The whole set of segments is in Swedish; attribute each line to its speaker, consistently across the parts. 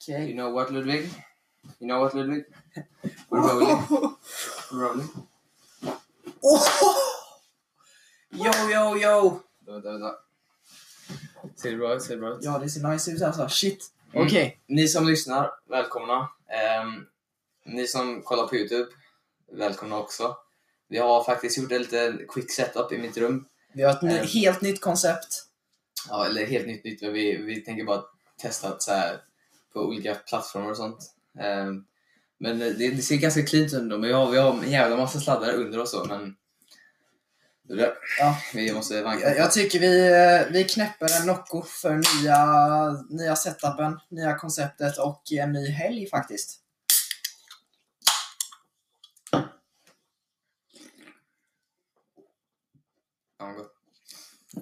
Speaker 1: Okej.
Speaker 2: You know what Ludvig? You know what Ludvig? We're rolling. We're rolling.
Speaker 1: Yo, yo, yo!
Speaker 2: Vänta, vänta. Ser det bra ut? Ser det bra ut?
Speaker 1: Ja, det ser nice ut alltså. Shit.
Speaker 2: Mm.
Speaker 1: Okej.
Speaker 2: Ni som lyssnar, välkomna. Ehm, ni som kollar på Youtube, välkomna också. Vi har faktiskt gjort en liten quick setup i mitt rum.
Speaker 1: Vi har ett ny-
Speaker 2: Eh.
Speaker 1: helt nytt koncept.
Speaker 2: Ja, eller helt nytt nytt, men vi, vi tänker bara testa att så här, på olika plattformar och sånt. Ehm, men det, det ser ganska cleant ut ändå, men vi har, vi har en jävla massa sladdar under och så, men... Det där.
Speaker 1: Ja.
Speaker 2: Vi måste vanka.
Speaker 1: Jag, jag tycker vi, eh, vi knäpper en Nocco för nya, nya setupen, nya konceptet och en ny helg faktiskt.
Speaker 2: Ja, gott.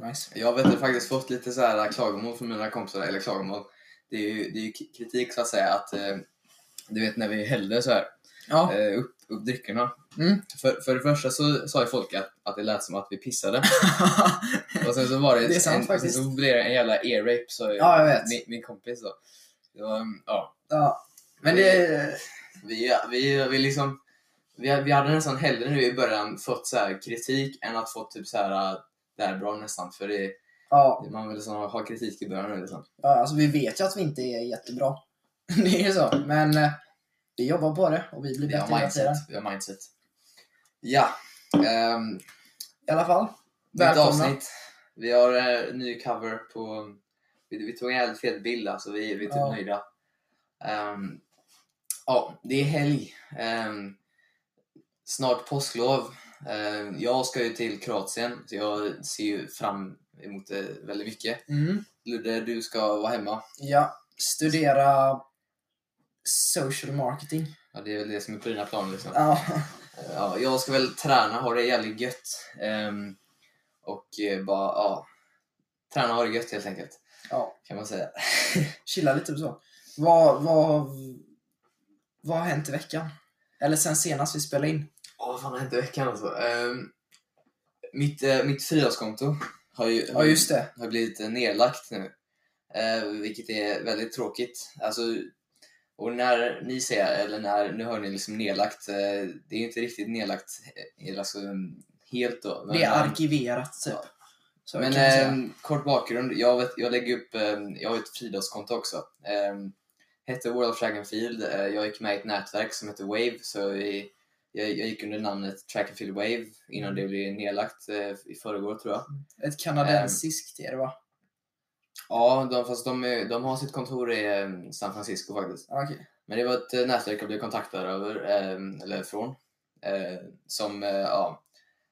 Speaker 1: Nice.
Speaker 2: Jag vet inte, faktiskt fått lite så här klagomål från mina kompisar, eller klagomål. Det är ju, det är ju k- kritik så att säga att eh, du vet när vi hällde så här
Speaker 1: Ja.
Speaker 2: eh, upp, upp dryckerna.
Speaker 1: Mm.
Speaker 2: För, för det första så sa ju folk att, att det lät som att vi pissade. Och sen så var det,
Speaker 1: Det är sant,
Speaker 2: en, sen
Speaker 1: faktiskt.
Speaker 2: så blev det en jävla ear rape så
Speaker 1: Ja, jag vet.
Speaker 2: Min, min kompis då. Det var, mm, ja.
Speaker 1: ja. Men det...
Speaker 2: Vi, vi, vi liksom vi, vi hade nästan hellre nu i början fått så här kritik än att få typ så här det här är bra nästan för det,
Speaker 1: Ja,
Speaker 2: man vill liksom ha, ha kritik i början nu liksom.
Speaker 1: ja, alltså vi vet ju att vi inte är jättebra. Det är ju så. Men eh, vi jobbar på det och vi blir
Speaker 2: Vi
Speaker 1: bättre
Speaker 2: har
Speaker 1: hela tiden.
Speaker 2: mindset. Vi har mindset. Ja. Um,
Speaker 1: I alla fall.
Speaker 2: nytt
Speaker 1: Välkomna.
Speaker 2: avsnitt. Vi har eh, ny cover på... Vi, vi tog en helt fet bild alltså, vi, vi är typ
Speaker 1: Ja.
Speaker 2: nöjda. Ehm, ja, det är helg. Ehm, snart påsklov. Ehm, jag ska ju till Kroatien, så jag ser ju fram emot det väldigt mycket.
Speaker 1: Mm.
Speaker 2: Ludde, du ska vara hemma.
Speaker 1: Ja, studera social marketing.
Speaker 2: Ja, det är väl det som är på dina planer liksom.
Speaker 1: Ja,
Speaker 2: Ja, jag ska väl träna, ha det jävligt gött. Ehm, och eh, bara, ja. Träna och ha det gött helt enkelt,
Speaker 1: ja
Speaker 2: kan man säga.
Speaker 1: chilla lite och så. Vad, vad, vad har hänt i veckan? Eller sen senast vi spelade in?
Speaker 2: Ja, vad fan har hänt i veckan alltså? Ehm, mitt, eh, mitt frilanskonto har ju
Speaker 1: Ja, just det.
Speaker 2: har blivit eh, nedlagt nu. Eh, vilket är väldigt tråkigt. Alltså, och när ni ser, eller när, nu har ni liksom nedlagt, eh, det är ju inte riktigt nedlagt eh, alltså, helt då. men,
Speaker 1: Det är
Speaker 2: ehm,
Speaker 1: arkiverat typ.
Speaker 2: ja.
Speaker 1: Så
Speaker 2: Men
Speaker 1: kan man säga.
Speaker 2: ehm, kort bakgrund. Jag, vet, jag lägger upp, ehm, jag har ett friidrottskonto också. Ehm, hette World of Track and Field. Eh, jag gick med i ett nätverk som heter Wave. Så vi, jag, jag gick under namnet Track and Field Wave
Speaker 1: Mm.
Speaker 2: innan det blev nedlagt eh, i förrgår tror jag.
Speaker 1: Ett kanadensiskt är det va?
Speaker 2: Ja, de, fast de, är- de har sitt kontor i ehm, San Francisco faktiskt.
Speaker 1: Ja, Okej.
Speaker 2: Men det var ett eh, nätverk jag blev kontaktad över, ehm, eller från. eh, som, eh, ja,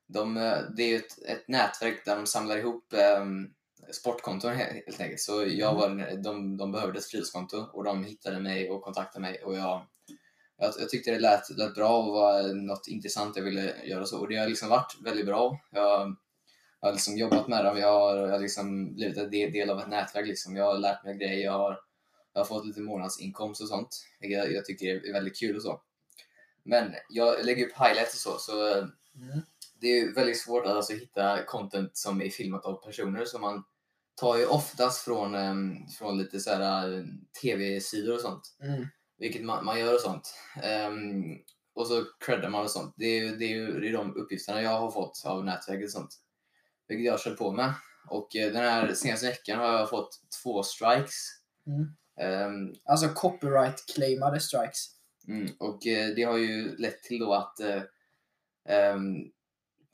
Speaker 2: de, eh, det är ju ett, ett nätverk där de samlar ihop ehm, sportkonton he- helt enkelt. Så jag var, de, de behövde ett friluftskonto och de hittade mig och kontaktade mig och jag, jag, jag tyckte det lät, lät bra och var något intressant jag ville göra och så. Och det har liksom varit väldigt bra. Jag, jag har liksom jobbat med dem, jag har, jag har liksom blivit en del, del av ett nätverk. Liksom. Jag har lärt mig grejer, jag har, jag har fått lite månadsinkomst och sånt. Vilket jag, jag tycker är väldigt kul och så. Men jag lägger upp highlights och så, så eh,
Speaker 1: Mm.
Speaker 2: det är ju väldigt svårt att alltså hitta content som är filmat av personer. Så man tar ju oftast från, em, från lite så här eh, tv-sidor och sånt.
Speaker 1: Mm.
Speaker 2: Vilket man, man gör och sånt. Ehm, och så creddar man och sånt. Det är, ju- det är ju det är de uppgifterna jag har fått av nätverket och sånt. Vilket jag kör på med. Och eh, den här senaste veckan har jag fått två strikes.
Speaker 1: Mm.
Speaker 2: Ehm,
Speaker 1: Alltså copyright-claimade strikes.
Speaker 2: Mm, och eh, det har ju lett till då att eh, ehm,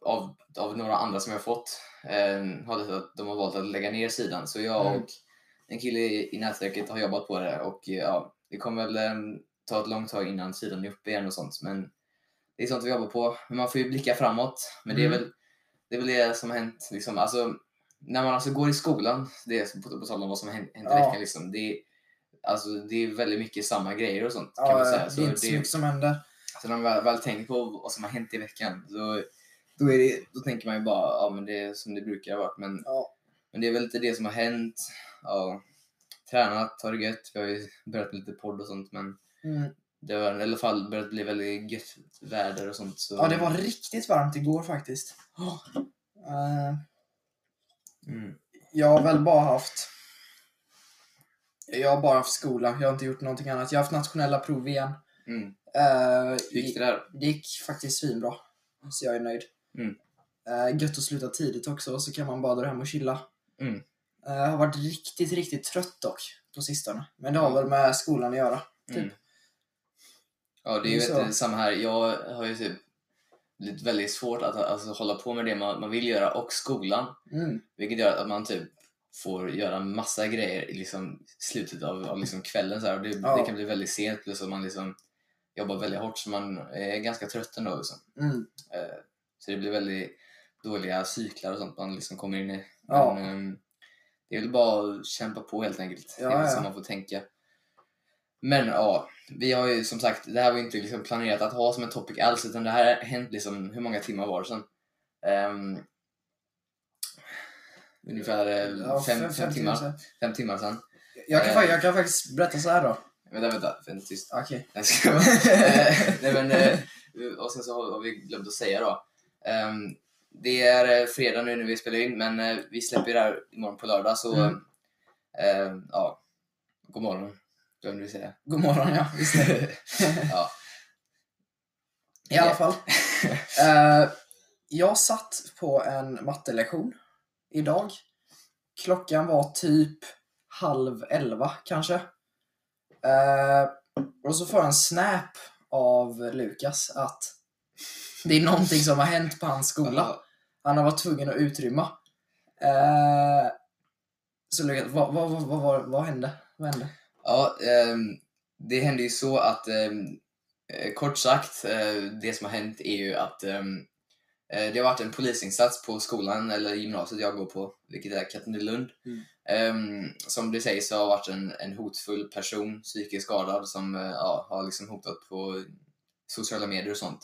Speaker 2: av, av några andra som jag fått eh, har det att de har valt att lägga ner sidan. Så jag
Speaker 1: Mm.
Speaker 2: och en kille i, i nätverket har jobbat på det och eh, ja, det kommer väl ehm, ta ett långt tag innan sidan är uppe igen och sånt. Men det är sånt vi jobbar på. Men man får ju blicka framåt. Men det,
Speaker 1: Mm.
Speaker 2: är väl, det är väl det som har hänt. Liksom. Alltså, när man alltså går i skolan, det är på, på tal om vad som har hänt, hänt i
Speaker 1: Ja.
Speaker 2: veckan, liksom, det, är- alltså, det är väldigt mycket samma grejer och sånt kan
Speaker 1: Ja,
Speaker 2: man säga.
Speaker 1: det är inte så mycket som händer.
Speaker 2: Så när man väl, väl tänker på vad som har hänt i veckan så då, är det, då tänker man ju bara ja men det är som det brukar ha varit. Men,
Speaker 1: Ja.
Speaker 2: men det är väl lite det som har hänt. Ja, tränat, har det gött. Vi har ju börjat med lite podd och sånt men
Speaker 1: Mm.
Speaker 2: det har i alla fall börjat bli väldigt gött väder och sånt. Så,
Speaker 1: Ja, det var riktigt varmt igår faktiskt. Eh,
Speaker 2: Mm.
Speaker 1: Jag har väl bara haft Jag har bara haft skola, jag har inte gjort någonting annat. Jag har haft nationella prov igen.
Speaker 2: Mm.
Speaker 1: Eh,
Speaker 2: Hur gick det där?
Speaker 1: Det gick faktiskt svinbra. Så jag är nöjd.
Speaker 2: Mm.
Speaker 1: Eh, gött att sluta tidigt också, så kan man bara dra hem och chilla.
Speaker 2: Mm.
Speaker 1: Eh, jag har varit riktigt, riktigt trött dock, på sistone. Men det har väl med skolan att göra. Typ.
Speaker 2: Mm. Ja, det är ju
Speaker 1: Det är så.
Speaker 2: ett, samma här. Jag har ju typ blivit väldigt svårt att alltså, hålla på med det man, man vill göra och skolan.
Speaker 1: Mm.
Speaker 2: Vilket gör att man typ får göra massa grejer i liksom slutet av, av liksom kvällen. Så här. Och Det,
Speaker 1: Ja.
Speaker 2: det kan bli väldigt sent plus att man liksom jobbar väldigt hårt så man är ganska trött ändå. Liksom.
Speaker 1: Mm.
Speaker 2: Eh, Så det blir väldigt dåliga cyklar och sånt man liksom kommer in i.
Speaker 1: Ja.
Speaker 2: Men, ehm, det är väl bara att kämpa på helt enkelt.
Speaker 1: Ja,
Speaker 2: det är väl
Speaker 1: ja.
Speaker 2: så man får tänka. Men ja, vi har ju som sagt, det här var ju inte liksom planerat att ha som en topic alls utan det här har hänt liksom hur många timmar var det sen? Ehm, ungefär eh,
Speaker 1: Ja,
Speaker 2: fem, fem, timmar,
Speaker 1: sedan.
Speaker 2: fem timmar sen.
Speaker 1: Jag kan,
Speaker 2: Eh.
Speaker 1: fa- jag kan faktiskt berätta så här då.
Speaker 2: Vänta, vänta, vänta tyst.
Speaker 1: Okej.
Speaker 2: Nej, ska jag Eh, Nej men, eh, och sen så har har vi glömt att säga då. Ehm, det är eh, fredag nu när vi spelar in, men eh, vi släpper det här imorgon på lördag så,
Speaker 1: Mm.
Speaker 2: ehm, ja, god morgon. Glömde vi säga.
Speaker 1: God morgon ja, visst är det.
Speaker 2: ja.
Speaker 1: I alla fall. Eh, jag satt på en mattelektion idag. Klockan var typ halv elva kanske. Eh, och så får jag en snap av Lukas att det är någonting som har hänt på hans skola.
Speaker 2: Ja,
Speaker 1: Han har varit tvungen att utrymma. Eh, så Lukas, vad, vad, vad, vad, vad, vad hände? Vad hände?
Speaker 2: ja ehm, det hände ju så att, ehm, eh, kort sagt, eh, det som har hänt är ju att ehm, eh, det har varit en polisinsats på skolan, eller gymnasiet jag går på, vilket är Katrinelund.
Speaker 1: Mm.
Speaker 2: Ehm, som det sägs så har det varit en, en hotfull person, psykiskt skadad, som eh, ja, har liksom hotat på sociala medier och sånt.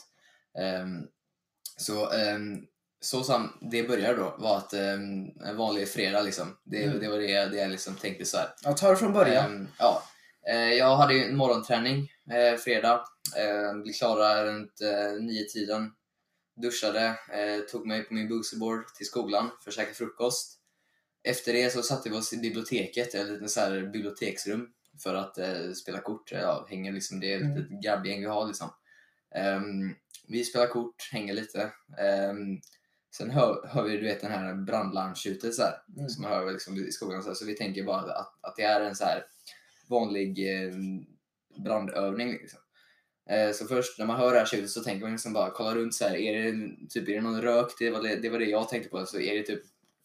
Speaker 2: Ehm, så ehm, så som det började då var att ehm, en vanlig fredag liksom. Det,
Speaker 1: Mm.
Speaker 2: det var det, det jag liksom tänkte så här.
Speaker 1: Jag tar det från början.
Speaker 2: Ehm, ja. Eh, jag hade ju en morgonträning eh, fredag. Eh, blev klara runt eh, nio tiden. Duschade, eh, tog mig på min boosterboard till skolan för att käka frukost. Efter det så satte vi oss i biblioteket, ett litet så här biblioteksrum för att eh, spela kort. Eh, Ja, hänger liksom, det är ett
Speaker 1: Mm.
Speaker 2: litet grabbgäng vi har liksom. Ehm, vi spelar kort, hänger lite. Ehm, sen hör, hör vi du vet, den här brandlarmstjutet så här
Speaker 1: Mm.
Speaker 2: som man hör liksom i skolan. Så, här. så vi tänker bara att, att det är en så här vanlig eh, brandövning. Liksom. Eh, så först när man hör det här tjutet så tänker man liksom bara kolla runt så här. Är det, typ, är det någon rök? Det var det, det var det jag tänkte på. Så är det typ,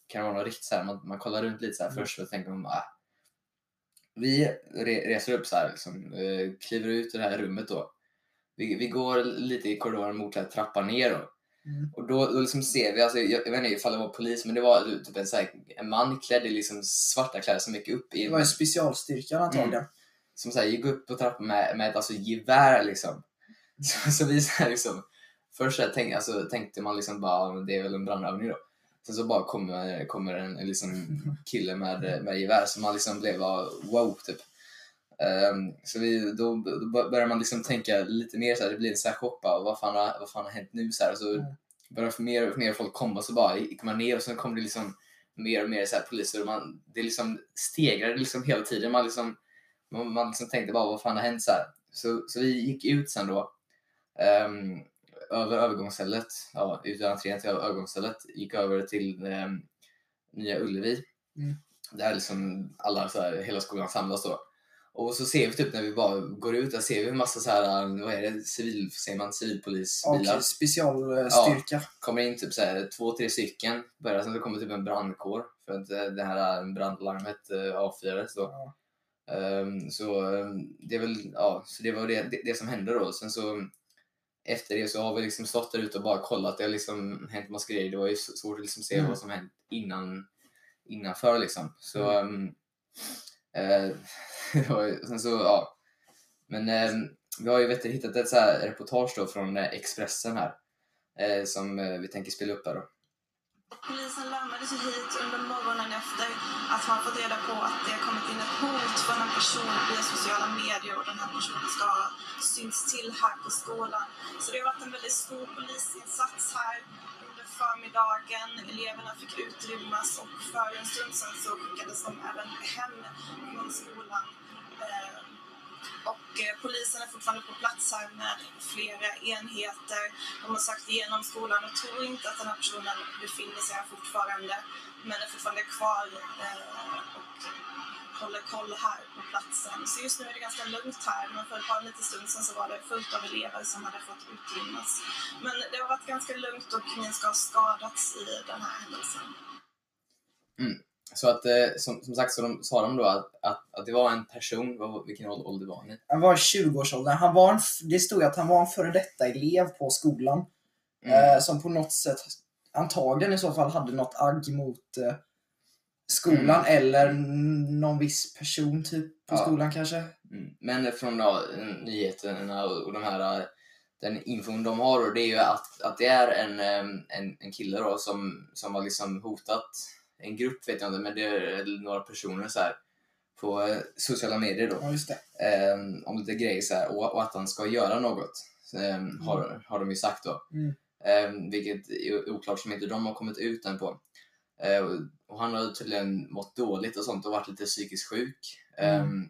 Speaker 2: kan det vara något riktigt så här? Man, man kollar runt lite så här
Speaker 1: Mm.
Speaker 2: först och tänker man bara, "Ah." Vi re, reser upp så här, liksom, eh, kliver ut ur det här rummet då. Vi, vi går lite i korridoren mot den här trappan ner då.
Speaker 1: Mm.
Speaker 2: Och då, då liksom ser vi, alltså, jag, jag vet inte ifall det var polis, men det var typ en, så här, en man klädd i liksom svarta kläder som gick upp i
Speaker 1: Det var ju specialstyrkan antagligen.
Speaker 2: som så här, gick upp på trappan med, med ett alltså, gevär liksom. Så, så vi så här, liksom, först så här, tänk, alltså, tänkte man liksom bara, "Ja, men det är väl en brandövning då. Sen så bara kommer, kommer en en
Speaker 1: Mm.
Speaker 2: liksom, kille med, med gevär som man liksom blev bara, wow typ. Ehm, så vi, då, då bör- börjar man liksom tänka lite mer så här, det blir en så här chock bara, vad fan har, vad fan har hänt nu så här. Och
Speaker 1: Mm.
Speaker 2: så börjar mer och mer folk komma så bara gick man ner och sen kom det liksom mer och mer så här poliser och man, det liksom stegrade liksom hela tiden. Man liksom, man, man liksom tänkte bara vad fan har hänt så här. Så, så vi gick ut sen då. ehm, över övergångsstället, ja, ut ur entrén till övergångsstället, gick över till ehm, Nya Ullevi.
Speaker 1: Mm.
Speaker 2: Där liksom alla, så här, hela skolan samlas då. Och så ser vi typ när vi bara går ut, där ser vi en massa så här, vad är det, civil, säger man, civilpolisbilar
Speaker 1: Och specialstyrka.
Speaker 2: kommer in typ så här, två, tre stycken. Börjar, sen så kommer typ en brandkår för att eh, det här eh, brandlarmet eh, avfyrades då.
Speaker 1: Ja.
Speaker 2: Ehm, så, ehm, det är väl, ja, så det var det, det, det som hände då. Sen så efter det så har vi liksom stått där ute och bara kollat. Det har liksom hänt massa grejer. Det var ju s- svårt att liksom se
Speaker 1: Mm.
Speaker 2: vad som hänt innan, innanför liksom. Så,
Speaker 1: Mm.
Speaker 2: ehm, eh, det var ju- sen så, ja. Men ehm, vi har ju vet, du, hittat ett så här reportage då från eh, Expressen här. Eh, som eh, vi tänker spela upp här då.
Speaker 3: Polisen larmades ju hit under morgonen efter att man fått reda på att det har kommit in ett hot från en person via sociala medier och den här personen ska ha synts till här på skolan. Så det har varit en väldigt stor polisinsats här under under förmiddagen. Eleverna fick utrymmas och för en stund sedan så skickades de även hem från skolan. Eh, Och eh, polisen är fortfarande på plats här med flera enheter. De har sökt igenom skolan och tror inte att den här personen befinner sig här fortfarande men är fortfarande kvar eh, och håller koll här på platsen. Så just nu är det ganska lugnt här, men för bara en liten stund sedan så var det fullt av elever som hade fått utrymmas. Men det har varit ganska lugnt och ingen ska ha skadats i den här händelsen.
Speaker 2: Så att, eh, som, som sagt, så de, sa de då att, att, att det var en person, vad, vilken ålder, ålder var han i?
Speaker 1: Han var i 20-årsåldern. Han var en, f- det stod ju att han var en före detta elev på skolan.
Speaker 2: Mm.
Speaker 1: Eh, som på något sätt, antagligen i så fall, hade något agg mot eh, skolan eller n- någon viss person typ på
Speaker 2: Mm. Ja.
Speaker 1: skolan kanske.
Speaker 2: Mm. Men från då, eh, nyheterna och och de här, eh, den infon de har då, det är ju att, att det är en, eh, en, en kille då som, som har liksom hotat en grupp, vet jag inte, men det är några personer så här på eh, sociala medier då,
Speaker 1: Ja, just det.
Speaker 2: eh, om lite grejer så här, och, och att han ska göra något, eh, har, har de ju sagt då.
Speaker 1: Mm.
Speaker 2: Eh, vilket är oklart som inte de har kommit ut än på. Eh, och- och han har tydligen mått dåligt och sånt och varit lite psykiskt sjuk.
Speaker 1: Mm.
Speaker 2: Eh,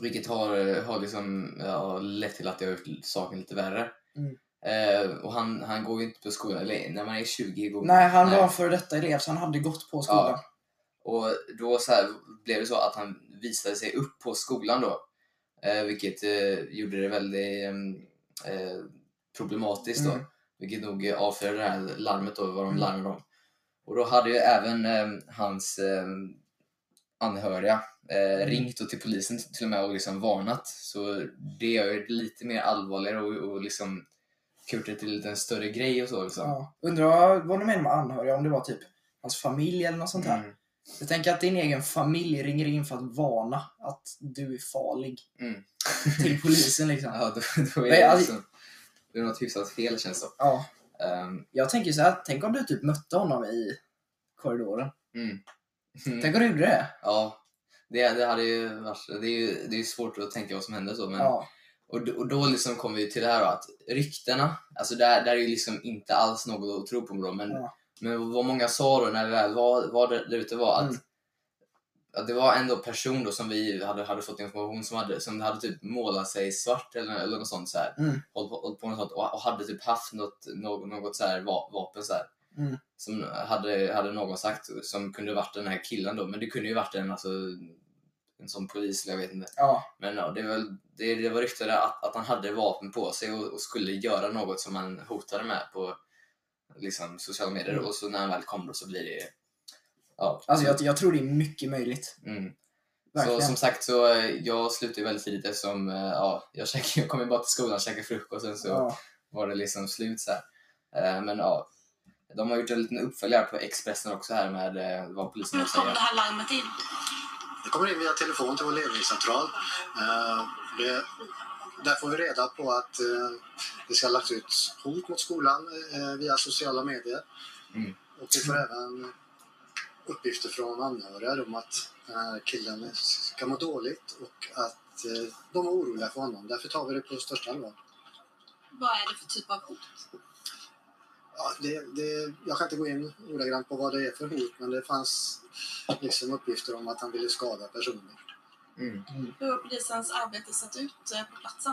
Speaker 2: Vilket har, har liksom, ja, lett till att det har gjort saken lite värre.
Speaker 1: Mm.
Speaker 2: Eh, och han, han går ju inte på skolan, eller när man är 20 går
Speaker 1: Nej, han
Speaker 2: Nej.
Speaker 1: var en före detta elev så han hade gått på skolan.
Speaker 2: Och då så här, blev det så att han visade sig upp på skolan då. Eh, vilket eh, gjorde det väldigt eh, eh, problematiskt då.
Speaker 1: Mm.
Speaker 2: Vilket nog eh, avförde det här larmet då, vad de
Speaker 1: Mm.
Speaker 2: larmade om. Och då hade ju även eh, hans eh, anhöriga eh,
Speaker 1: Mm.
Speaker 2: ringt och till polisen till och med och liksom varnat. Så det gör ju det lite mer allvarligare och, och liksom gjort det till en liten större grej och så liksom.
Speaker 1: Ja. Undrar vad de menar med anhöriga, om det var typ hans familj eller något sånt här.
Speaker 2: Mm.
Speaker 1: Jag tänker att din egen familj ringer in för att varna att du är farlig.
Speaker 2: Mm.
Speaker 1: Till polisen liksom.
Speaker 2: Ja, då, då är
Speaker 1: Nej,
Speaker 2: det,
Speaker 1: alltså-
Speaker 2: liksom, det är något hyfsat fel känns det
Speaker 1: Ja,
Speaker 2: um,
Speaker 1: jag tänker så här, tänk om du typ mötte honom i korridoren.
Speaker 2: mm.
Speaker 1: Tänk om du gjorde det?
Speaker 2: Ja, det, det hade ju varit... Det är ju det är ju svårt att tänka vad som hände så, men...
Speaker 1: Ja.
Speaker 2: Och, då- och då liksom kommer vi till det här då, att ryktena, alltså där, där är ju liksom inte alls något att tro på då, men,
Speaker 1: Ja.
Speaker 2: men vad många sa då när vi väl var, var där där ute var att,
Speaker 1: Mm.
Speaker 2: att det var en då person då som vi hade, hade fått information som hade, som hade typ målat sig svart eller, eller något sånt så här.
Speaker 1: Mm.
Speaker 2: Hållit på, hållit på med något sånt och, och hade typ haft något, något, något så här va, vapen så här.
Speaker 1: Mm.
Speaker 2: Som hade, hade någon sagt som kunde varit den här killen då, men det kunde ju varit en alltså en sån polis eller jag vet inte.
Speaker 1: Ja.
Speaker 2: Men ja, det, är väl, det, det var ryktade att, att han hade vapen på sig och, och skulle göra något som han hotade med på liksom, sociala medier.
Speaker 1: Mm.
Speaker 2: Och så när han väl kom då så blir det... Ja.
Speaker 1: Alltså jag, jag tror det är mycket möjligt.
Speaker 2: mm.
Speaker 1: Verkligen.
Speaker 2: Så som sagt, så eh, jag slutade ju väldigt tidigt eftersom eh, ja, jag, käkade, jag kom ju bara till skolan och käkade frukost och sen så
Speaker 1: ja.
Speaker 2: var det liksom slut så här. Eh, Men ja, de har gjort en liten uppföljare på Expressen också här med eh, vad polisen
Speaker 3: Nu
Speaker 2: har
Speaker 3: kom det
Speaker 2: säger.
Speaker 3: här larmet in.
Speaker 4: Det kommer in via telefon till vår ledningscentral. Eh, det, där får vi reda på att eh, det ska ha lagts ut hot mot skolan eh, via sociala medier.
Speaker 2: Mm.
Speaker 4: Och vi får även uppgifter från anhöriga om att den här killen ska må dåligt och att eh, de är oroliga för honom. Därför tar vi det på största allvar.
Speaker 3: Vad är det för typ av hot?
Speaker 4: Ja, det, det, jag kan inte gå in ordagrant på vad det är för hot men det fanns liksom uppgifter om att han ville skada personer.
Speaker 2: Mm.
Speaker 3: Hur har polisens arbete sett ut eh, på platsen?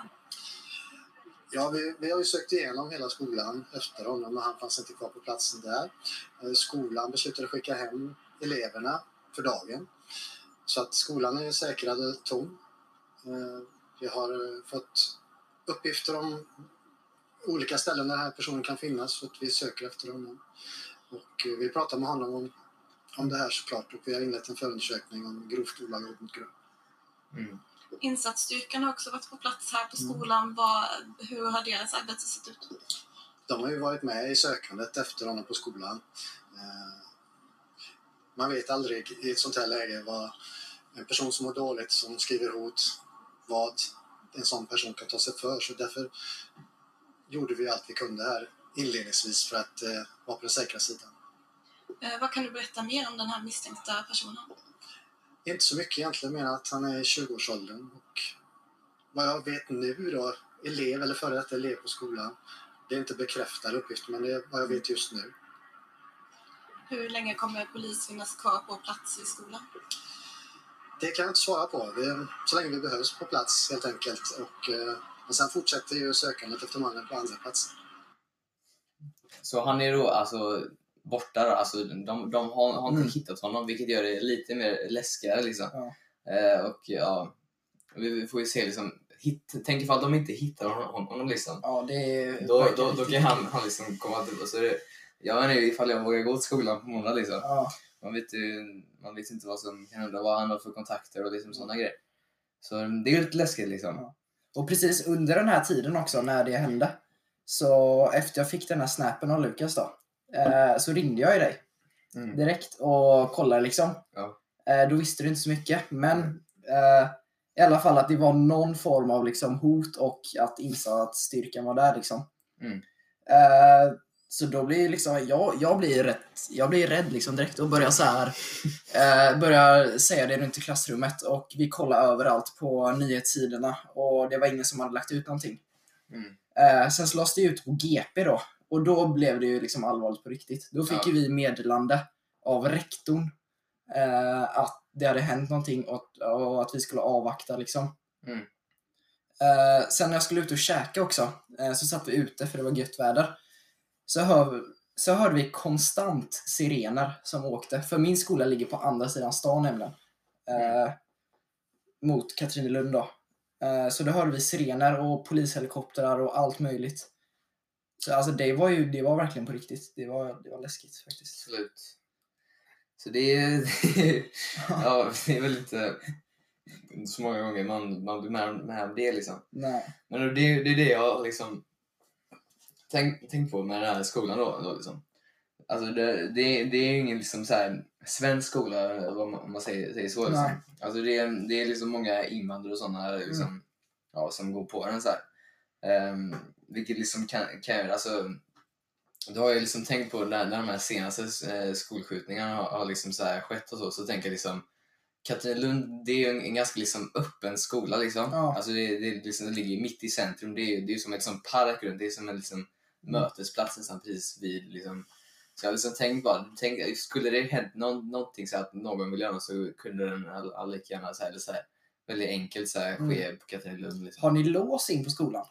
Speaker 4: Ja, vi, vi har ju sökt igenom hela skolan efter honom, men han fanns inte kvar på platsen där. Eh, Skolan beslutade skicka hem eleverna för dagen. Så att skolan är säkrad och tom. Eh, Vi har eh, fått uppgifter om olika ställen där den här personen kan finnas, så att vi söker efter honom. Och eh, vi pratar med honom om, om det här såklart och vi har inlett en förundersökning om grovt olaga hot mot grupp.
Speaker 2: Mm.
Speaker 3: Insatsstyrkan har också varit på plats här på skolan. Vad, hur har deras arbete sett ut?
Speaker 4: De har ju varit med i sökandet efter honom på skolan. Eh, Man vet aldrig i ett sånt här läge vad en person som mår dåligt, som skriver hot, vad en sån person kan ta sig för. Så därför gjorde vi allt vi kunde här inledningsvis för att eh, vara på den säkra sidan.
Speaker 3: Eh, vad kan du berätta mer om den här misstänkta personen?
Speaker 4: Inte så mycket egentligen, men att han är i 20-årsåldern och vad jag vet nu då, elev eller före detta elev på skolan Det är inte bekräftade uppgifter, men det är vad jag vet just nu.
Speaker 3: Hur länge kommer polis finnas kvar på plats i skolan?
Speaker 4: Det kan jag inte svara på. Vi, så länge vi behövs på plats helt enkelt. Och, eh, men sen fortsätter ju sökandet efter mannen på andra plats.
Speaker 2: Så han är då alltså borta då, alltså de, de har, har inte
Speaker 1: Mm.
Speaker 2: hittat honom vilket gör det lite mer läskigare liksom.
Speaker 1: Ja.
Speaker 2: Eh, och ja, vi, vi får ju se liksom, hit, tänk ifall de inte hittar hon- honom liksom.
Speaker 1: Ja, det är...
Speaker 2: Då, då, då kan han, han liksom komma till och så är det, jag vet inte ifall jag vågar gå till skolan på måndag liksom.
Speaker 1: Ja,
Speaker 2: Man vet ju man vet inte vad som kan hända, vad han har för kontakter och liksom sådana grejer. Så det är ju lite läskigt liksom.
Speaker 1: Ja. och precis under den här tiden också, när det hände, så efter jag fick den här snappen av Lukas då, eh, så ringde jag ju dig
Speaker 2: Mm.
Speaker 1: direkt och kollade liksom.
Speaker 2: Ja. Mm.
Speaker 1: Eh, då visste du inte så mycket, men eh, i alla fall att det var någon form av liksom hot och att insatsstyrkan var där liksom.
Speaker 2: Mm.
Speaker 1: Eh, så då blir ju liksom, jag, jag blir rätt, jag blir rädd liksom direkt och börjar så här, eh, börjar säga det runt i klassrummet och vi kollade överallt på nyhetssidorna och det var ingen som hade lagt ut någonting.
Speaker 2: Mm.
Speaker 1: Eh, sen så lades det ut på GP då. Och då blev det ju liksom allvarligt på riktigt. Då fick
Speaker 2: Ja.
Speaker 1: ju vi meddelande av rektorn eh, att det hade hänt någonting och, och att vi skulle avvakta liksom.
Speaker 2: Mm.
Speaker 1: Eh, sen när jag skulle ut och käka också, eh, så satt vi ute för det var gött väder. Så, hör, så hörde vi konstant sirener som åkte. För min skola ligger på andra sidan stan nämligen. Eh, Mot Katrinelund då. Eh, Så då hörde vi sirener och polishelikoptrar och allt möjligt. Så alltså det var ju det var verkligen på riktigt. Det var, det var läskigt faktiskt.
Speaker 2: Absolut. Så det är, ja, det är väl inte inte så många gånger man, man blir med, med om det liksom.
Speaker 1: Nej.
Speaker 2: Men det, det är det jag har liksom tänkt tänk på med den här skolan då. då liksom. Alltså det, det, det är ju ingen liksom så här svensk skola eller vad man, om man säger, säger så. Liksom.
Speaker 1: Nej.
Speaker 2: Alltså det, är- det är liksom många invandrare och sådana liksom, ja, som går på den så här. Ehm, vilket liksom kan, kan göra, alltså då har jag liksom tänkt på när, när de här senaste eh, skolskjutningarna har, har liksom så här skett och så, så tänker jag liksom Katrinelund, det är ju en, en ganska liksom öppen skola liksom.
Speaker 1: Ja.
Speaker 2: Alltså det, det, är liksom, det ligger ju mitt i centrum. Det är ju det är ju som en liksom park runt, det är som en liksom mötesplats nästan precis vid liksom. Så jag har liksom tänkt bara, tänk, skulle det hänt någon, någonting så att någon vill göra något så kunde den all, all lika gärna så här, eller så här, väldigt enkelt så här, ske på Katrinelund. Liksom.
Speaker 1: Har ni lås in på skolan?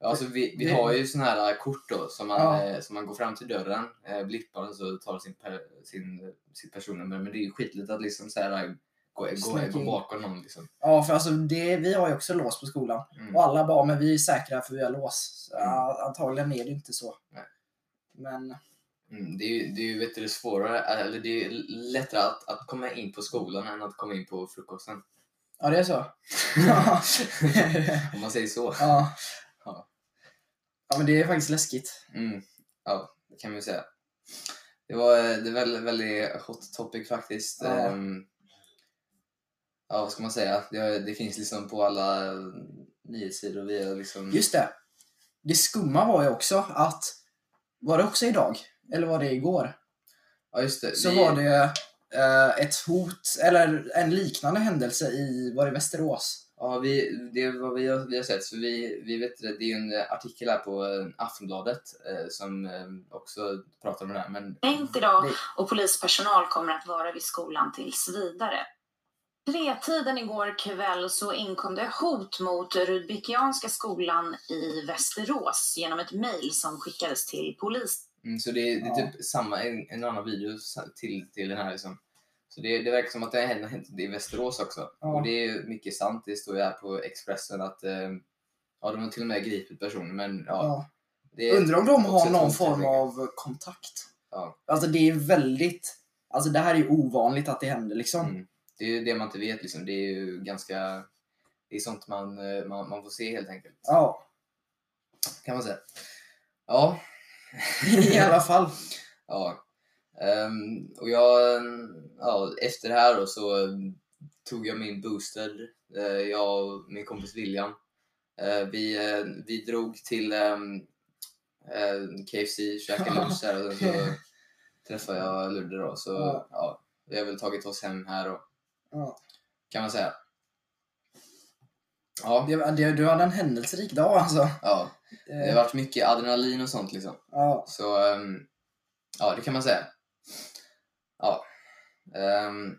Speaker 2: Ja, alltså vi, vi
Speaker 1: Det-
Speaker 2: har ju såna här äh, kort då som man,
Speaker 1: Ja.
Speaker 2: eh, som man går fram till dörren, eh, blippar och så tar sin, per, sin sitt personnummer. Men det är ju skitligt att liksom så här, eh, gå, gå,
Speaker 1: Sneak
Speaker 2: gå
Speaker 1: in.
Speaker 2: bakom någon liksom.
Speaker 1: Ja, för alltså det, vi har ju också lås på skolan.
Speaker 2: Mm.
Speaker 1: Och alla bara, men vi är säkra för vi har lås.
Speaker 2: Mm.
Speaker 1: Ja, antagligen är det inte så.
Speaker 2: Nej.
Speaker 1: Men
Speaker 2: Mm, det är ju, det är ju vet du, svårare, äh, eller det är ju lättare att, att komma in på skolan än att komma in på frukosten.
Speaker 1: ja, det är så.
Speaker 2: Om man säger så.
Speaker 1: ja.
Speaker 2: Ja.
Speaker 1: ja, men det är faktiskt läskigt.
Speaker 2: Mm. Ja, det kan man ju säga. Det var eh, det är väldigt, väldigt hot topic faktiskt.
Speaker 1: Ja.
Speaker 2: Ehm, ja, vad ska man säga? Det, det finns liksom på alla eh, nyhetssidor. Vi är liksom...
Speaker 1: Just det. Det skumma var ju också att, var det också idag? Eller var det igår?
Speaker 2: ja, just det.
Speaker 1: så
Speaker 2: vi,
Speaker 1: var det eh, ett hot, eller en liknande händelse i, var det Västerås?
Speaker 2: Ja, vi, det är vad vi har, vi har sett. För vi, vi vet, det det är ju en eh, artikel här på eh, Aftonbladet eh, som eh, också pratar om det här. Men
Speaker 5: stängt idag
Speaker 1: Det-
Speaker 5: och polispersonal kommer att vara vid skolan tills vidare. Tretiden igår kväll så inkom det hot mot Rudbeckianska skolan i Västerås genom ett mejl som skickades till polis.
Speaker 2: Mm, så det är, det är
Speaker 1: Ja.
Speaker 2: typ samma, en, en annan video sa- till, till den här liksom. Så det, det verkar som att det har hänt- har hänt i Västerås också.
Speaker 1: Ja.
Speaker 2: Och det är ju mycket sant, det står ju här på Expressen att eh, ja, de har till och med gripit personer men ja.
Speaker 1: Ja.
Speaker 2: Det är,
Speaker 1: Undrar om de
Speaker 2: också
Speaker 1: har
Speaker 2: ett
Speaker 1: någon
Speaker 2: hot,
Speaker 1: form
Speaker 2: jag
Speaker 1: av kontakt?
Speaker 2: Ja.
Speaker 1: Alltså det är väldigt, alltså det här är ju ovanligt att det händer liksom.
Speaker 2: Mm. det är ju det man inte vet liksom. Det är ju ganska, det är sånt man, eh, man, man får se helt enkelt.
Speaker 1: Ja,
Speaker 2: Kan man säga. Ja.
Speaker 1: i alla fall.
Speaker 2: Ja. Ehm, och jag, ehm, ja, efter det här då, så ehm, tog jag min booster, eh, jag och min kompis William. Eh, vi, eh, vi drog till ehm, eh, KFC, käkade lunch där och sen så träffade jag Ludde då. Så
Speaker 1: Ja.
Speaker 2: ja, vi har väl tagit oss hem här då,
Speaker 1: Ja.
Speaker 2: kan man säga. Ja,
Speaker 1: Det, det, du hade en händelserik dag alltså. Eh,
Speaker 2: ja. Det har varit mycket adrenalin och sånt liksom.
Speaker 1: ja.
Speaker 2: Så, ehm, ja det kan man säga. Ja. Ehm,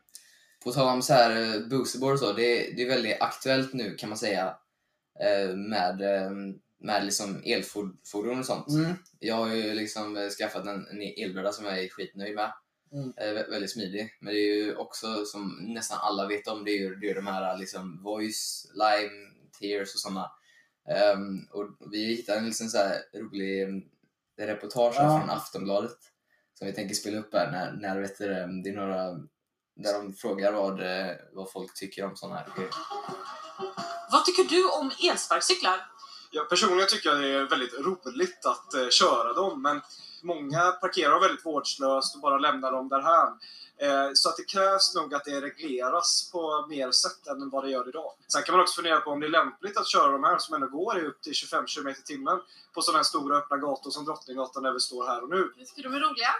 Speaker 2: på tal om så här eh, boosterboard och så, det, det är väldigt aktuellt nu kan man säga eh, med, ehm, med liksom elfordon och sånt.
Speaker 1: Mm.
Speaker 2: Jag har ju liksom eh, skaffat en, en elbräda som jag är skitnöjd med.
Speaker 1: Mm.
Speaker 2: Eh, vä- väldigt smidig. Men det är ju också som nästan alla vet om, det är ju det är ju de här liksom voice, lime, tears och sådana. Ehm, och vi hittade en liksom så här rolig em, reportage här
Speaker 1: Ja.
Speaker 2: från Aftonbladet som vi tänker spela upp här när, när vet du, em, det är några där de frågar vad, eh, vad folk tycker om sådana här grejer.
Speaker 5: Vad tycker du om elsparkcyklar?
Speaker 6: Ja, personligen tycker jag det är väldigt roligt att eh, köra dem, men många parkerar väldigt vårdslöst och bara lämnar dem därhän. Eh, så att det krävs nog att det regleras på mer sätt än vad det gör idag. Sen kan man också fundera på om det är lämpligt att köra de här som ändå går i upp till 25 km i timmen på sådana här stora öppna gator som Drottninggatan där vi står här och nu.
Speaker 7: Jag tycker de är roliga.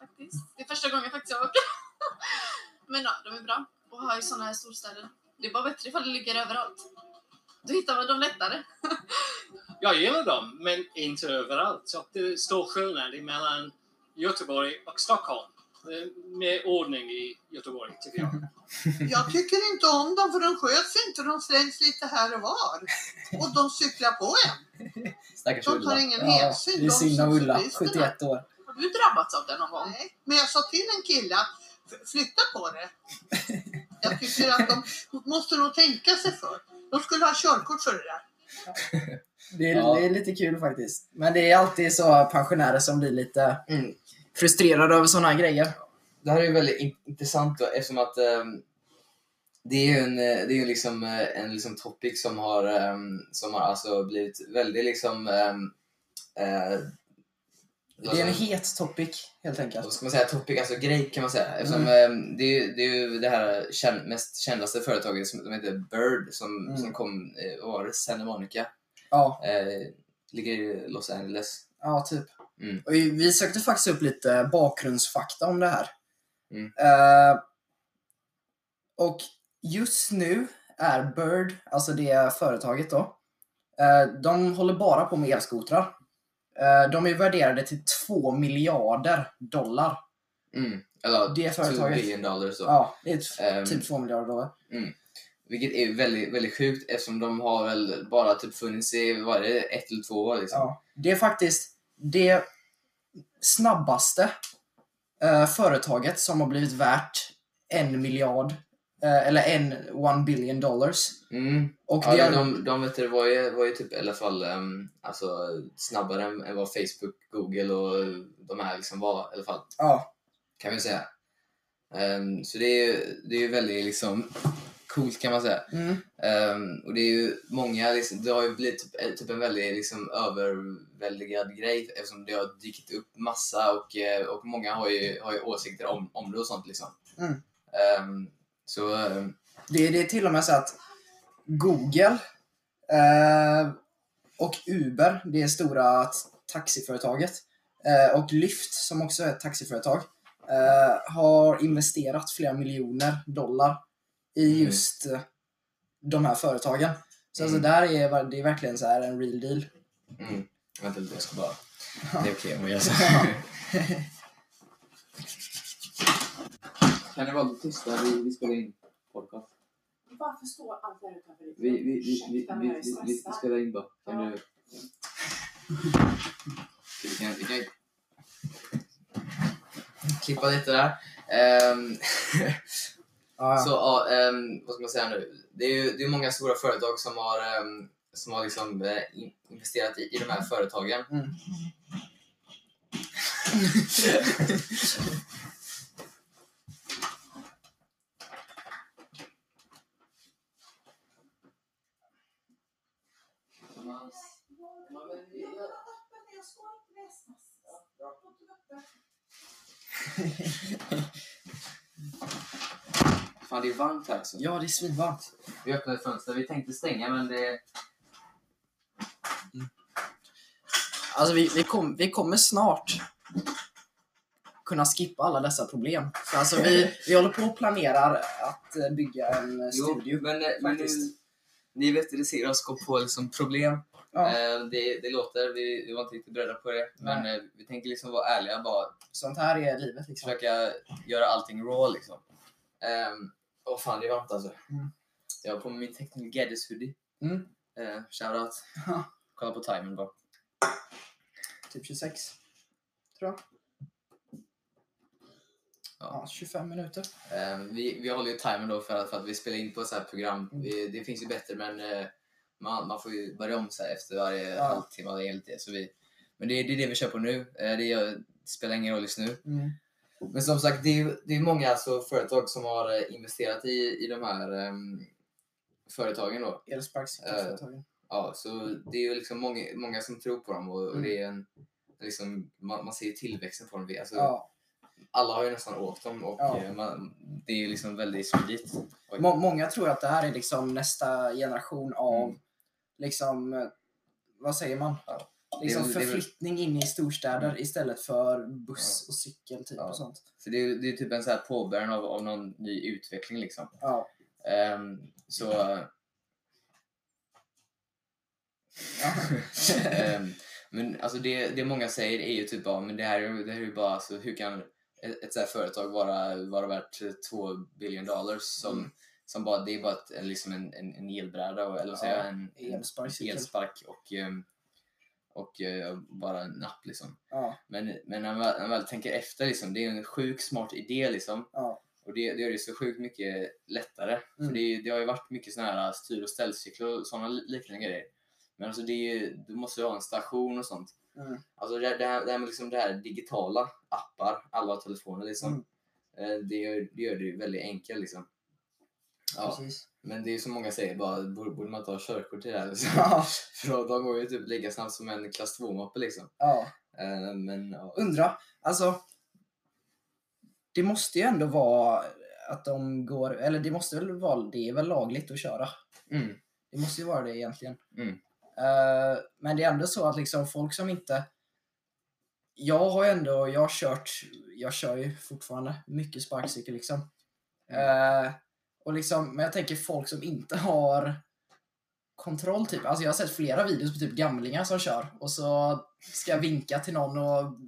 Speaker 7: Faktiskt. Det är första gången faktiskt jag har varit Men ja, de är bra och har ju såna här storstäder. Det är bara bättre ifall det ligger överallt. Då hittar man dem lättare.
Speaker 8: Jag gillar dem, men inte överallt. Så att det är stor skillnad mellan Göteborg och Stockholm. Det är Mer ordning i Göteborg, tycker jag.
Speaker 9: Jag tycker inte om dem för de sköts inte, de slängs lite här och var. Och de cyklar på en.
Speaker 2: Stackars
Speaker 9: De tar
Speaker 2: Ulla.
Speaker 9: ingen
Speaker 1: Ja,
Speaker 9: hänsyn.
Speaker 1: det är
Speaker 9: de
Speaker 1: synd om Ulla,
Speaker 9: cyklisterna.
Speaker 1: 71 år.
Speaker 7: Har du drabbats av det någon gång?
Speaker 9: Nej, men jag sa till en kille att f- flytta på det. Jag tycker att de måste nog tänka sig för. De skulle ha körkort för det där.
Speaker 1: Det är,
Speaker 2: Ja.
Speaker 1: det är lite kul faktiskt. Men det är alltid så pensionärer som blir lite
Speaker 2: Mm.
Speaker 1: frustrerade över sådana här grejer.
Speaker 2: Det här är ju väldigt in- intressant då, eftersom att ehm, det är ju en, eh, det är ju liksom, eh, en liksom topic som har, ehm, som har alltså blivit väldigt liksom... ehm, eh, vad
Speaker 1: Det är
Speaker 2: ska-
Speaker 1: en het topic helt enkelt.
Speaker 2: vad ska man säga? Topic, alltså grej kan man säga. Eftersom
Speaker 1: Mm.
Speaker 2: ehm, det, är, ju- det är ju det här kän- mest kändaste företaget som, som heter Bird som,
Speaker 1: Mm.
Speaker 2: som kom eh, och var i Santa Monica.
Speaker 1: Ja,
Speaker 2: Eh, ligger i Los Angeles.
Speaker 1: ja typ.
Speaker 2: Mm.
Speaker 1: Och vi sökte faktiskt upp lite bakgrundsfakta om det här.
Speaker 2: Mm.
Speaker 1: Eh, och just nu är Bird, alltså det företaget då, eh, de håller bara på med elskotrar. Eh, de är värderade till 2 miljarder dollar.
Speaker 2: Mm. Eller
Speaker 1: Det företaget.
Speaker 2: 2 billion dollars då.
Speaker 1: Ja, det är t-
Speaker 2: Ehm,
Speaker 1: typ 2 miljarder dollar.
Speaker 2: Vilket är väldigt, väldigt sjukt eftersom de har väl bara typ funnits i vad är det, ett eller två år. Liksom.
Speaker 1: Ja, det är faktiskt det snabbaste eh, företaget som har blivit värt en miljard, eh, eller en one billion dollars.
Speaker 2: Mm.
Speaker 1: Och
Speaker 2: Ja,
Speaker 1: det
Speaker 2: de
Speaker 1: är,
Speaker 2: de, de vet du, var, ju, var ju typ i alla fall ehm, alltså, snabbare än, än vad Facebook, Google och de här liksom var i alla fall.
Speaker 1: ja,
Speaker 2: Kan vi säga. Ehm, så det är ju det är ju väldigt liksom coolt kan man säga.
Speaker 1: mm,
Speaker 2: Ehm, och det är ju många, liksom, det har ju blivit typ, eh, typ en väldigt liksom, överväldigad grej eftersom det har dykt upp massa och, eh, och många har ju, har ju åsikter om, om det och sånt liksom.
Speaker 1: Mm.
Speaker 2: Ehm, så ehm,
Speaker 1: det, det är till och med så att Google eh, och Uber, det är stora t- taxiföretaget, eh, och Lyft som också är ett taxiföretag, eh, har investerat flera miljoner dollar i
Speaker 2: Mm.
Speaker 1: just eh, de här företagen. Så
Speaker 2: Mm.
Speaker 1: alltså där är ver- det är verkligen så här en real deal.
Speaker 2: mm, vänta lite, jag ska bara... Det är okej om jag gör så. kan ni vara lite tysta? Vi, vi spelar in podcast.
Speaker 5: Bara förstå allt det här utanför ditt
Speaker 2: Vi, vi, vi, vi, vi, vi, vi, vi spelar in bara. Kan
Speaker 5: Ja.
Speaker 2: du... Vi kan, vi kan klippa lite där. Ehm,
Speaker 1: Ja,
Speaker 2: så ja, ehm, vad ska man säga nu? Det är ju det är många stora företag som har, ehm, som har liksom, eh, in- investerat i, i de här företagen.
Speaker 1: Mm.
Speaker 2: Fan, det är varmt här alltså.
Speaker 1: ja det är svinvarmt.
Speaker 2: Vi öppnade ett fönster. Vi tänkte stänga, men det...
Speaker 1: Alltså vi, vi, kom, vi kommer snart kunna skippa alla dessa problem. Så alltså vi, vi håller på och planerar att eh, bygga en eh,
Speaker 2: Jo,
Speaker 1: studio.
Speaker 2: men, eh, men nu,
Speaker 1: faktiskt.
Speaker 2: ni vet, det ser oss gå på liksom problem.
Speaker 1: Ja,
Speaker 2: Eh, det, det låter, vi, vi var inte riktigt beredda på det. Men eh, vi tänker liksom vara ärliga, bara
Speaker 1: sånt här är livet liksom.
Speaker 2: försöka göra allting raw liksom. Ehm, Åh fan, det är varmt alltså.
Speaker 1: Mm.
Speaker 2: Jag har på mig min Technical Gadgets hoodie.
Speaker 1: Mm.
Speaker 2: Eh, shoutout.
Speaker 1: Ja.
Speaker 2: Kolla på timern bara.
Speaker 1: Typ 26. Tror jag. Ja, 25 minuter.
Speaker 2: Eh, vi, vi håller ju timern då för att, för att vi spelar in på så här program.
Speaker 1: Mm.
Speaker 2: Vi, det finns ju bättre men eh, man, man får ju börja om så här efter varje
Speaker 1: Ja.
Speaker 2: halvtimme eller enligt det. Så vi, men det, är- det är det vi kör på nu. Eh, det, gör, det spelar ingen roll just nu.
Speaker 1: Mm.
Speaker 2: Men som sagt, det är, ju- det är många alltså, företag som har eh, investerat i, i de här ehm, företagen då. Eh,
Speaker 1: Elsparkcykelföretagen.
Speaker 2: Ja, så det är ju liksom många, många som tror på dem och,
Speaker 1: Mm.
Speaker 2: och det är en, liksom, man, man ser ju tillväxten på dem. Vi- Alltså,
Speaker 1: Ja.
Speaker 2: Alla har ju nästan åkt dem och
Speaker 1: Ja.
Speaker 2: eh, man, det är ju liksom väldigt smidigt. Oj.
Speaker 1: Må- många tror att det här är liksom nästa generation av
Speaker 2: Mm.
Speaker 1: liksom, eh, vad säger man?
Speaker 2: Ja.
Speaker 1: Liksom
Speaker 2: Det är väl- det är väl-
Speaker 1: förflyttning in i storstäder istället för buss och cykel typ
Speaker 2: Ja.
Speaker 1: och sånt.
Speaker 2: Så det är ju det är typ en så här påbörjan av, av någon ny utveckling liksom.
Speaker 1: Ja.
Speaker 2: Ehm, så... Ehm, men alltså det, det många säger är ju typ bara, men det här är ju- det här är ju bara, alltså, hur kan ett, ett så här företag vara, vara värt 2 billion dollars som, som bara, det är bara ett, en- liksom en, en, en elbräda och, eller vad säger
Speaker 1: Ja, typ.
Speaker 2: jag, en, en
Speaker 1: Elsparkcykel.
Speaker 2: elspark och, ehm, och eh, bara en app liksom.
Speaker 1: Ja,
Speaker 2: Men, men när, man, väl- när man väl tänker efter, liksom, det är ju en sjuk smart idé liksom.
Speaker 1: ja,
Speaker 2: Och det, det gör det så sjukt mycket lättare.
Speaker 1: Mm.
Speaker 2: För det, är ju- det har ju varit mycket såna här äh, styr och ställcyklar och sådana liknande grejer. Men alltså det är, ju- du måste ju ha en station och sånt.
Speaker 1: Mm.
Speaker 2: Alltså det, det, här, det här med liksom det här digitala appar, alla har telefoner
Speaker 1: Mm.
Speaker 2: liksom. Eh, Det, gör, det gör det ju väldigt enkelt liksom. Ja,
Speaker 1: precis.
Speaker 2: men det är ju som många säger, bara, borde, borde man ta körkort till det här? Liksom.
Speaker 1: Ja,
Speaker 2: För de går ju typ lika snabbt som en klass 2-moppe liksom.
Speaker 1: ja.
Speaker 2: Eh, Men ja.
Speaker 1: Undra, alltså. Det måste ju ändå vara att de går, eller det måste väl vara, det är väl lagligt att köra.
Speaker 2: Mm.
Speaker 1: Det måste ju vara det egentligen.
Speaker 2: Mm.
Speaker 1: Eh, men det är ändå så att liksom folk som inte... Jag har ju ändå, jag har kört, jag kör ju fortfarande mycket sparkcykel liksom.
Speaker 2: Mm.
Speaker 1: Eh, och liksom, men jag tänker folk som inte har kontroll typ. Alltså jag har sett flera videos på typ gamlingar som kör och så ska jag vinka till någon och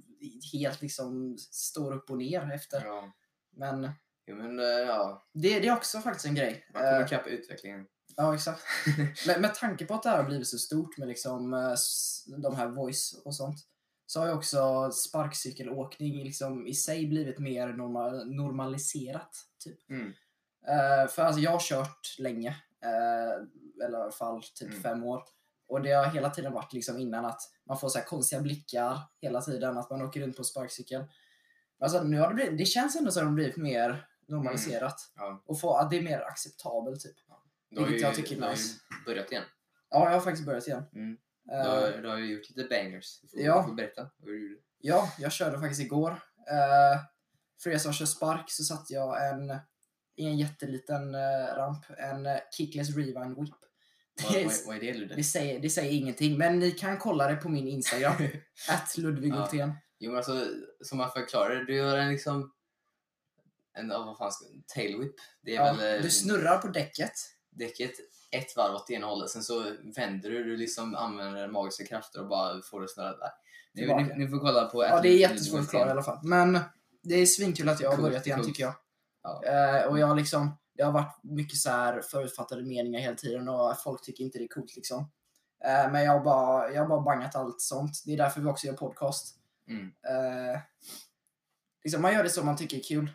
Speaker 1: helt liksom står upp och ner efter.
Speaker 2: Ja.
Speaker 1: Men
Speaker 2: Jo, men eh, ja,
Speaker 1: det, det är också faktiskt en grej.
Speaker 2: man kommer
Speaker 1: Eh,
Speaker 2: ikapp utvecklingen.
Speaker 1: Ja, exakt. med, med tanke på att det här har blivit så stort med liksom, eh, s- de här voice och sånt så har ju också sparkcykelåkning liksom i sig blivit mer norma- normaliserat. Typ.
Speaker 2: Mm.
Speaker 1: Eh, för alltså, jag har kört länge, eh, eller i alla fall typ
Speaker 2: Mm.
Speaker 1: fem år. Och det har hela tiden varit liksom innan att man får så här konstiga blickar hela tiden, att man åker runt på sparkcykel. Men Alltså, nu har det, blivit, det känns ändå som att det har blivit mer normaliserat.
Speaker 2: Mm. Ja.
Speaker 1: Och få, att det är mer acceptabelt typ.
Speaker 2: Då har
Speaker 1: Vilket jag
Speaker 2: ju-
Speaker 1: tycker är
Speaker 2: då har ju
Speaker 1: nice.
Speaker 2: börjat igen.
Speaker 1: Ja, jag har faktiskt börjat igen.
Speaker 2: Mm.
Speaker 1: Eh,
Speaker 2: Du har, du har ju gjort lite bangers. Du får,
Speaker 1: Ja.
Speaker 2: du får berätta vad du gjorde.
Speaker 1: Ja, jag körde faktiskt igår. Eh, för er som kör spark så satte jag en, i en jätteliten eh, ramp, en eh, kickless rewind whip.
Speaker 2: Vad,
Speaker 1: Det, är-
Speaker 2: vad, vad är det Ludde?
Speaker 1: det, säger, det säger ingenting, men ni kan kolla det på min Instagram, att Ludvig
Speaker 2: Ja.
Speaker 1: Hultén.
Speaker 2: Jo men alltså, som man förklarar du gör en liksom... En, ja, vad fan ska Tail whip. Det är
Speaker 1: Ja,
Speaker 2: väl eh,
Speaker 1: du snurrar på däcket.
Speaker 2: däcket ett varv åt ena hållet, sen så vänder du, du liksom använder magiska krafter och bara får det snurra där. Ni,
Speaker 1: Tillbaka.
Speaker 2: ni, ni får kolla på
Speaker 1: Ja, det är jättesvårt att klara i alla fall. Men det är svinkul att jag har
Speaker 2: Coolt,
Speaker 1: börjat igen
Speaker 2: coolt.
Speaker 1: tycker jag.
Speaker 2: Ja.
Speaker 1: Eh, och jag har liksom, det har varit mycket så här förutfattade meningar hela tiden och folk tycker inte det är coolt liksom. Eh, men jag har, bara, jag har bara bangat allt sånt. Det är därför vi också gör podcast.
Speaker 2: Mm.
Speaker 1: Eh, liksom, man gör det som man tycker är kul.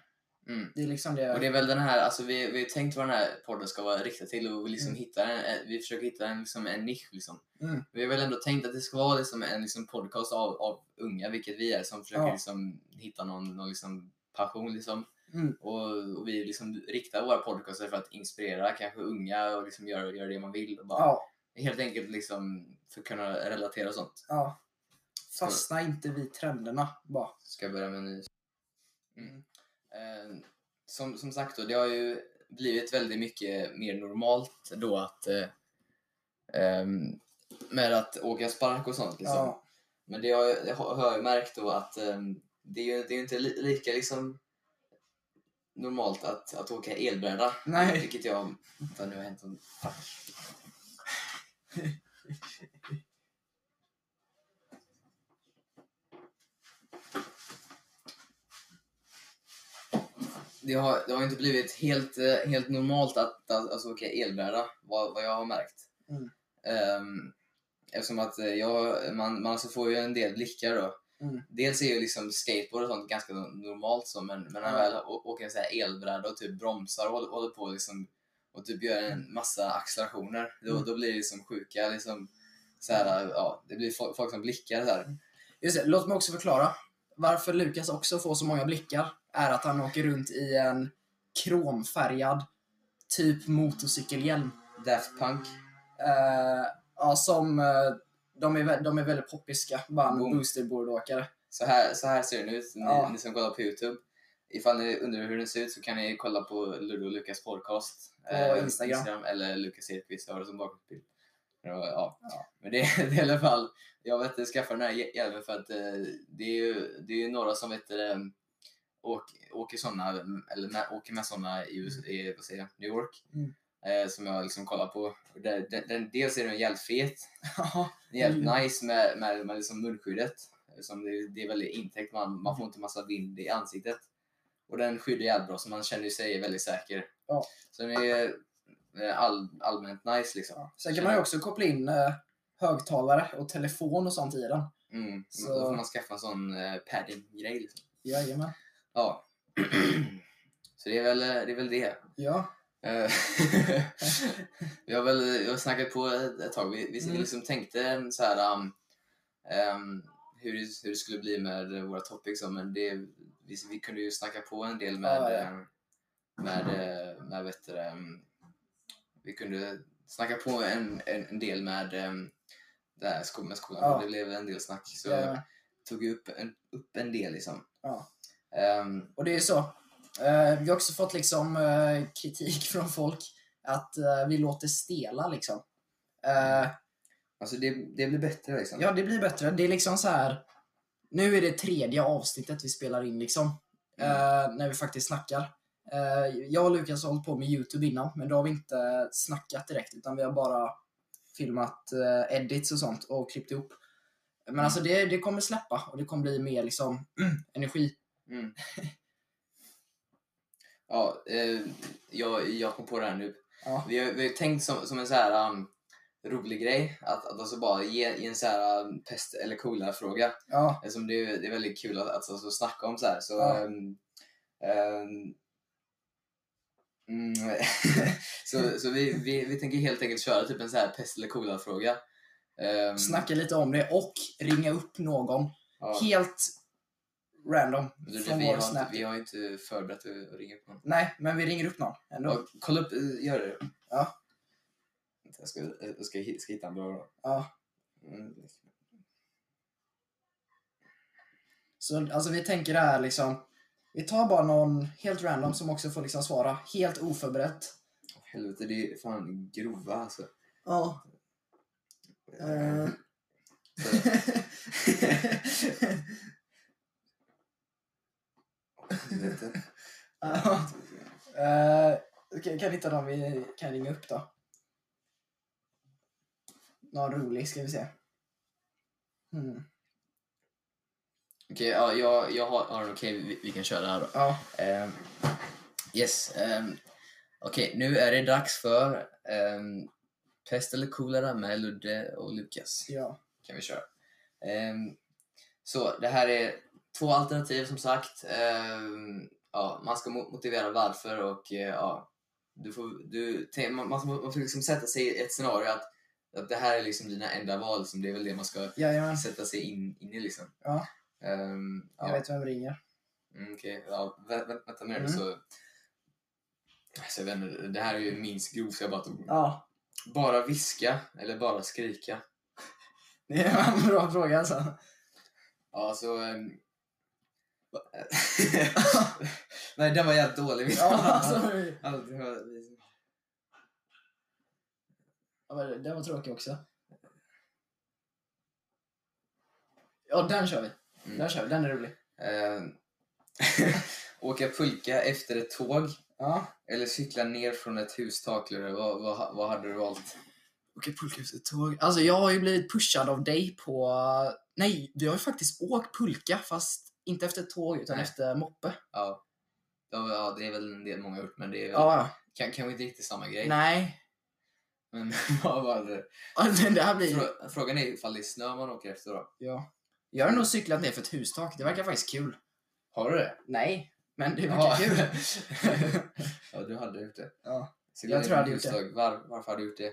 Speaker 2: Mm.
Speaker 1: Det är liksom det.
Speaker 2: Och det är väl den här, alltså vi, vi har tänkt vad den här podden ska vara riktad till och vi liksom hittar en, vi försöker hitta en, liksom en nisch liksom.
Speaker 1: Mm.
Speaker 2: Vi har väl ändå tänkt att det ska vara liksom en liksom podcast av, av unga, vilket vi är, som försöker
Speaker 1: Ja.
Speaker 2: liksom hitta någon, någon liksom passion liksom.
Speaker 1: Mm.
Speaker 2: Och, och vi liksom riktar våra podcaster för att inspirera kanske unga och liksom göra gör det man vill. Och bara,
Speaker 1: ja,
Speaker 2: Helt enkelt liksom för att kunna relatera och sånt.
Speaker 1: ja.
Speaker 2: Ska-
Speaker 1: Fastna inte vid trenderna bara.
Speaker 2: Ska jag börja med en ny? Mm. Eh, som, som sagt då, det har ju blivit väldigt mycket mer normalt då att eh, ehm, med att åka spark och sånt liksom.
Speaker 1: Ja,
Speaker 2: Men det har, jag- jag har har jag märkt då att ehm, det är ju det är ju inte li, lika liksom normalt att, att åka elbräda.
Speaker 1: Nej.
Speaker 2: Vilket jag... Vänta, nu har hänt en... Fuck. Det har, det har inte blivit helt, eh, helt normalt att, att alltså, åka elbräda, vad, vad jag har märkt.
Speaker 1: Mm.
Speaker 2: Ehm, eftersom att eh, jag, man, man alltså får ju en del blickar då.
Speaker 1: Mm.
Speaker 2: Dels är ju liksom skateboard och sånt ganska no- normalt så, men, men när man väl å- åker en sån här elbräda och typ bromsar och håller, håller på liksom, och typ gör en massa accelerationer, då,
Speaker 1: Mm.
Speaker 2: då blir det liksom sjuka liksom, så här, ja, det blir folk, folk som blickar så här.
Speaker 1: Mm. Just det, låt mig också förklara. Varför Lukas också får så många blickar är att han åker runt i en kromfärgad typ motorcykelhjälm.
Speaker 2: Daft Punk.
Speaker 1: Eh, ja, som eh, de, är, vä- de är väldigt poppiska band,
Speaker 2: Boom.
Speaker 1: boosterboardåkare.
Speaker 2: Så här, så här ser den ut, ni,
Speaker 1: Ja.
Speaker 2: ni som kollar på Youtube. Ifall ni undrar hur den ser ut så kan ni kolla på Ludo och Lukas podcast. eh,
Speaker 1: På Instagram.
Speaker 2: eller Lukas Edqvist, jag har det som bakgrundsbild. Men, Ja. Men det, det är i alla fall, jag vet inte, skaffa den här hj- hjälmen för att eh, det är ju, det är ju några som vet, eh, åk, åker, såna, eller med, åker med sådana i, US- i vad säger jag, New York.
Speaker 1: Mm.
Speaker 2: Eh, som jag liksom kollar på. Och där- den- den- Dels är den jävligt fet,
Speaker 1: Ja,
Speaker 2: det är jävligt
Speaker 1: Mm.
Speaker 2: nice med, med, med liksom munskyddet. Som det, det är väldigt intäckt, man, man får inte massa vind i ansiktet. Och den skyddar jävligt bra, så man känner ju sig väldigt säker.
Speaker 1: Ja.
Speaker 2: Så den är eh, all, allmänt nice liksom.
Speaker 1: ja. Sen kan man ju också koppla in eh, högtalare och telefon och sånt i den.
Speaker 2: Mm.
Speaker 1: Så-
Speaker 2: Då får man skaffa en sån eh, padding-grej liksom.
Speaker 1: Jajamän.
Speaker 2: Ja. så det är väl eh, det. Är väl det.
Speaker 1: Ja.
Speaker 2: Eh, vi har väl vi har snackat på ett, ett tag. Vi, vi
Speaker 1: Mm.
Speaker 2: liksom tänkte så här, um, um, hur, det- hur det skulle bli med våra topics. och- Men det, vi, vi kunde ju snacka på en del med,
Speaker 1: Ja, ja.
Speaker 2: eh, med, eh, med vet du, det, um, vi kunde snacka på en, en, en del med, um, det här, sko- med skolan.
Speaker 1: Ja.
Speaker 2: Det blev en del snack. Så
Speaker 1: Jajamän.
Speaker 2: tog ju upp en, upp en del liksom.
Speaker 1: Ja.
Speaker 2: Ehm,
Speaker 1: Och det är så. Eh, vi har också fått liksom eh, kritik från folk att eh, vi låter stela liksom. Eh,
Speaker 2: alltså det, det blir bättre liksom.
Speaker 1: ja, det blir bättre. Det är liksom så här. Nu är det tredje avsnittet vi spelar in liksom.
Speaker 2: Mm.
Speaker 1: Eh, när vi faktiskt snackar. Eh, jag och Lukas har hållit på med YouTube innan, men då har vi inte snackat direkt utan vi har bara filmat eh, edits och sånt och klippt ihop. Men
Speaker 2: Mm.
Speaker 1: alltså det, det kommer släppa och det kommer bli mer liksom energi.
Speaker 2: Mm. ja, eh, jag, jag kom på det här nu.
Speaker 1: Ja.
Speaker 2: Vi har, vi har tänkt som, som en så här um, rolig grej, att, att alltså bara ge, ge en så här um, pest eller coolare fråga.
Speaker 1: Ja,
Speaker 2: Eftersom det, är- det är väldigt kul att, att alltså, snacka om så här. Så,
Speaker 1: Ja.
Speaker 2: ehm, ehm, mm, så, så vi, vi, vi tänker helt enkelt köra typ en så här pest eller coolare fråga. Ehm,
Speaker 1: snacka lite om det och ringa upp någon
Speaker 2: ja.
Speaker 1: helt random
Speaker 2: Men du,
Speaker 1: från
Speaker 2: vi,
Speaker 1: vår
Speaker 2: har inte,
Speaker 1: Snap.
Speaker 2: vi har inte förberett att ringa upp någon.
Speaker 1: Nej, men vi ringer upp någon ändå.
Speaker 2: Ja, kolla upp, eh, gör det.
Speaker 1: Ja.
Speaker 2: Vänta, Jag ska, jag ska, hi- ska hitta en bra då.
Speaker 1: Ja.
Speaker 2: Mm.
Speaker 1: Så alltså, vi tänker det här liksom. Vi tar bara någon helt random som också får liksom svara helt oförberett.
Speaker 2: Åh, Helvete, det är fan grova alltså.
Speaker 1: Ja. eh.
Speaker 2: Helvete.
Speaker 1: Ja. Eh, Okej, kan vi hitta någon vi kan ringa upp då? Någon rolig ska vi se. Hmm.
Speaker 2: Okej, ja, jag, jag har, har en okej. vi, vi kan köra här då.
Speaker 1: Ja.
Speaker 2: Ehm, yes. ehm, Okej, nu är det dags för ehm, Pest eller kolera med Ludde och Lukas.
Speaker 1: ja.
Speaker 2: kan vi köra. Ehm, så det här är två alternativ som sagt. Ehm, ja, man ska mo- motivera varför och eh, ja, du får, du, te- man, man får man får liksom sätta sig i ett scenario att, att det här är liksom dina enda val. Som det är väl det man ska
Speaker 1: Jajamän,
Speaker 2: sätta sig in, in i liksom.
Speaker 1: Ja.
Speaker 2: Ehm,
Speaker 1: jag
Speaker 2: ja.
Speaker 1: vet vem vi ringer.
Speaker 2: Mm, Okej, ja, vä- vä- vänta nu
Speaker 1: Mm.
Speaker 2: så. Alltså, jag vet inte, det här är ju minst grovt så jag bara tog.
Speaker 1: Ja,
Speaker 2: Bara viska eller bara skrika?
Speaker 1: det är en bra fråga alltså.
Speaker 2: Ja, så... ehm, va- Nej, den var jävligt dålig.
Speaker 1: Ja, alltså.
Speaker 2: Allting var liksom-
Speaker 1: Ja, men Den var tråkig också. Ja, den kör vi.
Speaker 2: Mm.
Speaker 1: Den kör vi. Den är rolig.
Speaker 2: Ehm, Åka pulka efter ett tåg
Speaker 1: Ja.
Speaker 2: eller cykla ner från ett hustak, eller vad, vad, vad hade du valt?
Speaker 1: åka pulka-tåg. Alltså jag har ju blivit pushad av dig på... Nej, vi har ju faktiskt åkt pulka fast inte efter tåg utan
Speaker 2: Nej.
Speaker 1: efter moppe.
Speaker 2: Ja. Ja, ja, det är väl en del många har gjort, men det är väl,
Speaker 1: Ja, ja.
Speaker 2: kan, kanske inte riktigt samma grej.
Speaker 1: Nej.
Speaker 2: Men vad var det?
Speaker 1: Ja, men Det här blir...
Speaker 2: Frå- Frågan är ifall det är snö man åker efter då.
Speaker 1: Ja. Jag har nog cyklat ner för ett hustak. Det verkar faktiskt kul.
Speaker 2: Har du det?
Speaker 1: Nej, men det verkar
Speaker 2: Ja.
Speaker 1: kul.
Speaker 2: ja, du hade gjort det.
Speaker 1: Ja.
Speaker 2: Så
Speaker 1: Jag
Speaker 2: det
Speaker 1: tror jag hade
Speaker 2: är
Speaker 1: gjort det.
Speaker 2: husdag. Var, varför har du gjort det?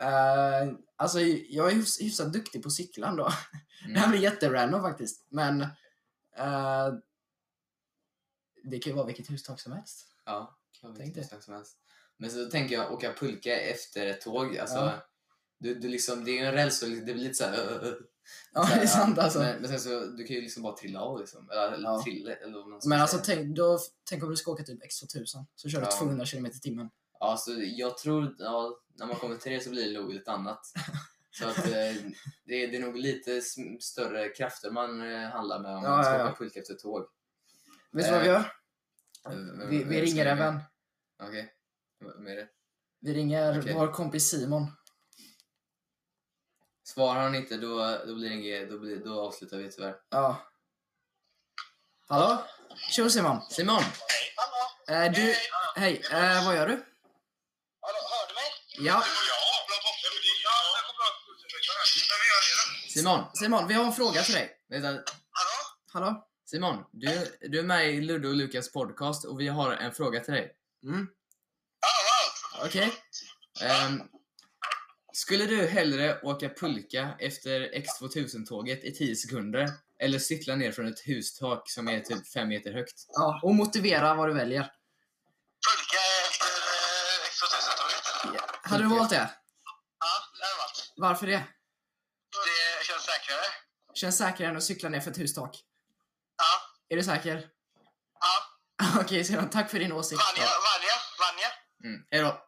Speaker 1: Eh, alltså, jag är hyfs- hyfsat duktig på cyklan då. Det här blir jätterandom faktiskt. Men eh, det kan ju vara vilket hustak som helst.
Speaker 2: Ja, kan
Speaker 1: Tänk
Speaker 2: vilken sak som helst. Men så tänker jag åka pulka efter ett tåg. Alltså,
Speaker 1: Ja.
Speaker 2: du, du liksom, det är ju en räls och det blir lite såhär...
Speaker 1: Ja, det är sant alltså. Men,
Speaker 2: Men, men sen så, du kan ju liksom bara trilla av liksom. Eller, eller
Speaker 1: Ja.
Speaker 2: trilla. Eller vad man ska
Speaker 1: men alltså
Speaker 2: säga.
Speaker 1: tänk, då, tänk om du ska åka typ X2000. Så kör du
Speaker 2: Ja.
Speaker 1: 200 km i timmen.
Speaker 2: Ja, så jag tror, ja, när man kommer till det så blir det nog lite annat. Så att eh, det, är, det är nog lite sm- större krafter man eh, handlar med om
Speaker 1: Ja,
Speaker 2: man ska
Speaker 1: ja, ja.
Speaker 2: åka pulka efter tåg.
Speaker 1: Vet du vad vi
Speaker 2: Eh,
Speaker 1: gör?
Speaker 2: vem- vem-
Speaker 1: Vi,
Speaker 2: vem
Speaker 1: eh, vi
Speaker 2: ska
Speaker 1: ringer en
Speaker 2: ringa?
Speaker 1: vän.
Speaker 2: Okej, vem är det?
Speaker 1: Vi ringer
Speaker 2: Okej.
Speaker 1: vår kompis Simon.
Speaker 2: Svarar han inte då, då blir det inget, då, blir, då avslutar vi tyvärr.
Speaker 1: Ja. Hallå? Tjo Simon!
Speaker 2: Simon!
Speaker 10: Hallå,
Speaker 1: Eh, du, hej, eh, vad gör du?
Speaker 10: hallå, hör du mig?
Speaker 1: Ja,
Speaker 10: Ja, bra koppling. Ja, det går bra. Vem gör det då?
Speaker 2: Simon!
Speaker 1: Simon, vi har en fråga till dig.
Speaker 2: Vänta,
Speaker 10: Hallå?
Speaker 1: Hallå?
Speaker 2: Simon, du, du är med i Ludde och Lukas podcast och vi har en fråga till dig.
Speaker 1: Mm,
Speaker 10: Ja, wow.
Speaker 1: okej.
Speaker 2: Ehm, skulle du hellre åka pulka efter X2000-tåget i 10 sekunder eller cykla ner från ett hustak som är typ 5 meter högt?
Speaker 1: Ja, och motivera vad du väljer.
Speaker 10: Pulka efter eh, X2000-tåget.
Speaker 1: Hade du valt det?
Speaker 10: Ja, det har varit.
Speaker 1: Varför det?
Speaker 10: Det känns säkrare.
Speaker 1: Känns säkrare än att cykla ner för ett hustak. Är
Speaker 10: Ja.
Speaker 1: du säker?
Speaker 10: Ja.
Speaker 1: Okej Simon, tack för din åsikt.
Speaker 10: Vanja, Vanja, Vanja.
Speaker 2: Mm. Hej då!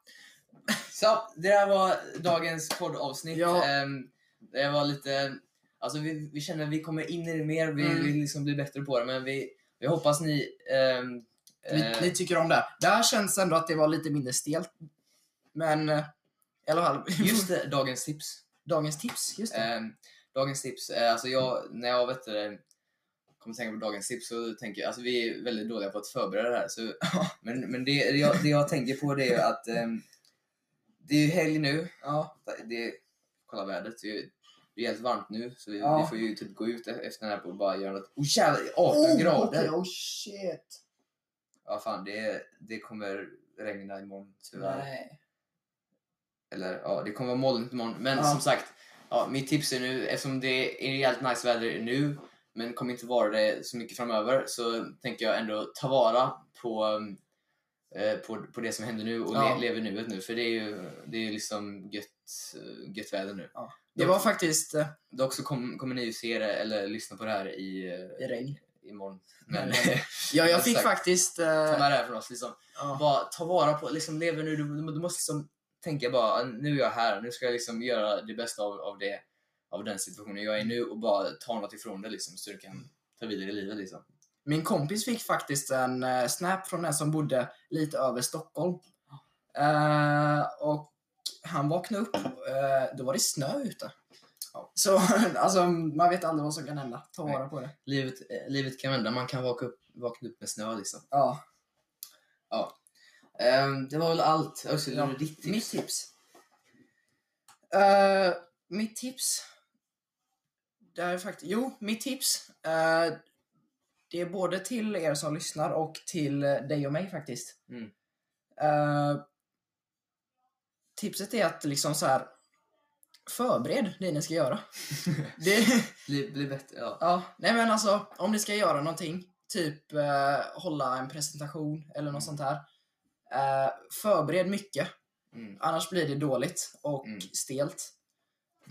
Speaker 2: Så, det där var dagens poddavsnitt.
Speaker 1: Ja.
Speaker 2: Ehm, det var lite... Alltså vi, vi känner att vi kommer in i det mer, vi
Speaker 1: Mm.
Speaker 2: vill liksom bli bättre på det, men vi, vi hoppas ni... ehm, eh,
Speaker 1: Ni, ni tycker om det. Det här känns ändå att det var lite mindre stelt. Men eh, i alla fall,
Speaker 2: eh, just det, dagens tips.
Speaker 1: dagens tips. Just det.
Speaker 2: Eh, dagens tips. Eh, alltså jag, när jag vet det, kommer tänka på dagens tips så tänker jag, alltså vi är väldigt dåliga på att förbereda det här. Så, men men det, jag, det jag tänker på det är ju att ehm, det är ju helg nu.
Speaker 1: Ja.
Speaker 2: Det, kolla vädret. Det är, det är helt varmt nu så vi,
Speaker 1: Ja.
Speaker 2: vi får ju typ gå ut e- efter den här och bara göra något. Oh jävlar, 18 grader!
Speaker 1: okej, oh shit.
Speaker 2: Ja fan, det, det kommer regna imorgon tyvärr.
Speaker 1: Nej.
Speaker 2: Eller ja, det kommer vara molnigt imorgon. Men
Speaker 1: Ja.
Speaker 2: som sagt, ja, mitt tips är nu, eftersom det är rejält nice väder nu, men kommer inte vara det så mycket framöver, så tänker jag ändå ta vara på, um, eh, på, på det som händer nu och
Speaker 1: Ja.
Speaker 2: le, lever nuet nu. För det är ju det är ju liksom gött, eh, gött väder nu.
Speaker 1: Det var faktiskt eh,
Speaker 2: Dock så kom, kommer ni ju se det eller lyssna på det här i,
Speaker 1: i
Speaker 2: eh,
Speaker 1: regn.
Speaker 2: imorgon. Men
Speaker 1: Men- Ja, jag fick
Speaker 2: Exakt.
Speaker 1: faktiskt... eh,
Speaker 2: ta med det här från oss. Liksom,
Speaker 1: ja.
Speaker 2: bara ta vara på, liksom lever nu, du, du måste liksom tänka bara nu är jag här, nu ska jag liksom göra det bästa av, av det, av den situationen jag är i nu och bara ta något ifrån det liksom så du kan ta vidare i livet liksom.
Speaker 1: Min kompis fick faktiskt en eh, snap från en som bodde lite över Stockholm. Eh, och han vaknade upp, eh, då var det snö ute. Så alltså, man vet aldrig vad som kan hända. Ta vara på det.
Speaker 2: Livet, eh, livet kan vända, man kan vakna upp, vakna upp med snö liksom.
Speaker 1: Ja.
Speaker 2: Ehm, det var väl allt. Alltså,
Speaker 1: Ja,
Speaker 2: ditt tips.
Speaker 1: Mitt tips? Eh, mitt tips? Det här är faktiskt... Jo, mitt tips. eh, det är både till er som lyssnar och till eh, dig och mig faktiskt.
Speaker 2: Mm.
Speaker 1: Eh, tipset är att liksom så här förbered det ni ska göra. det,
Speaker 2: Bli, bli bättre, ja.
Speaker 1: ja, nej men alltså om ni ska göra någonting, typ eh, hålla en presentation eller något sånt här. eh, förbered mycket.
Speaker 2: Mm.
Speaker 1: Annars blir det dåligt och
Speaker 2: Mm.
Speaker 1: stelt.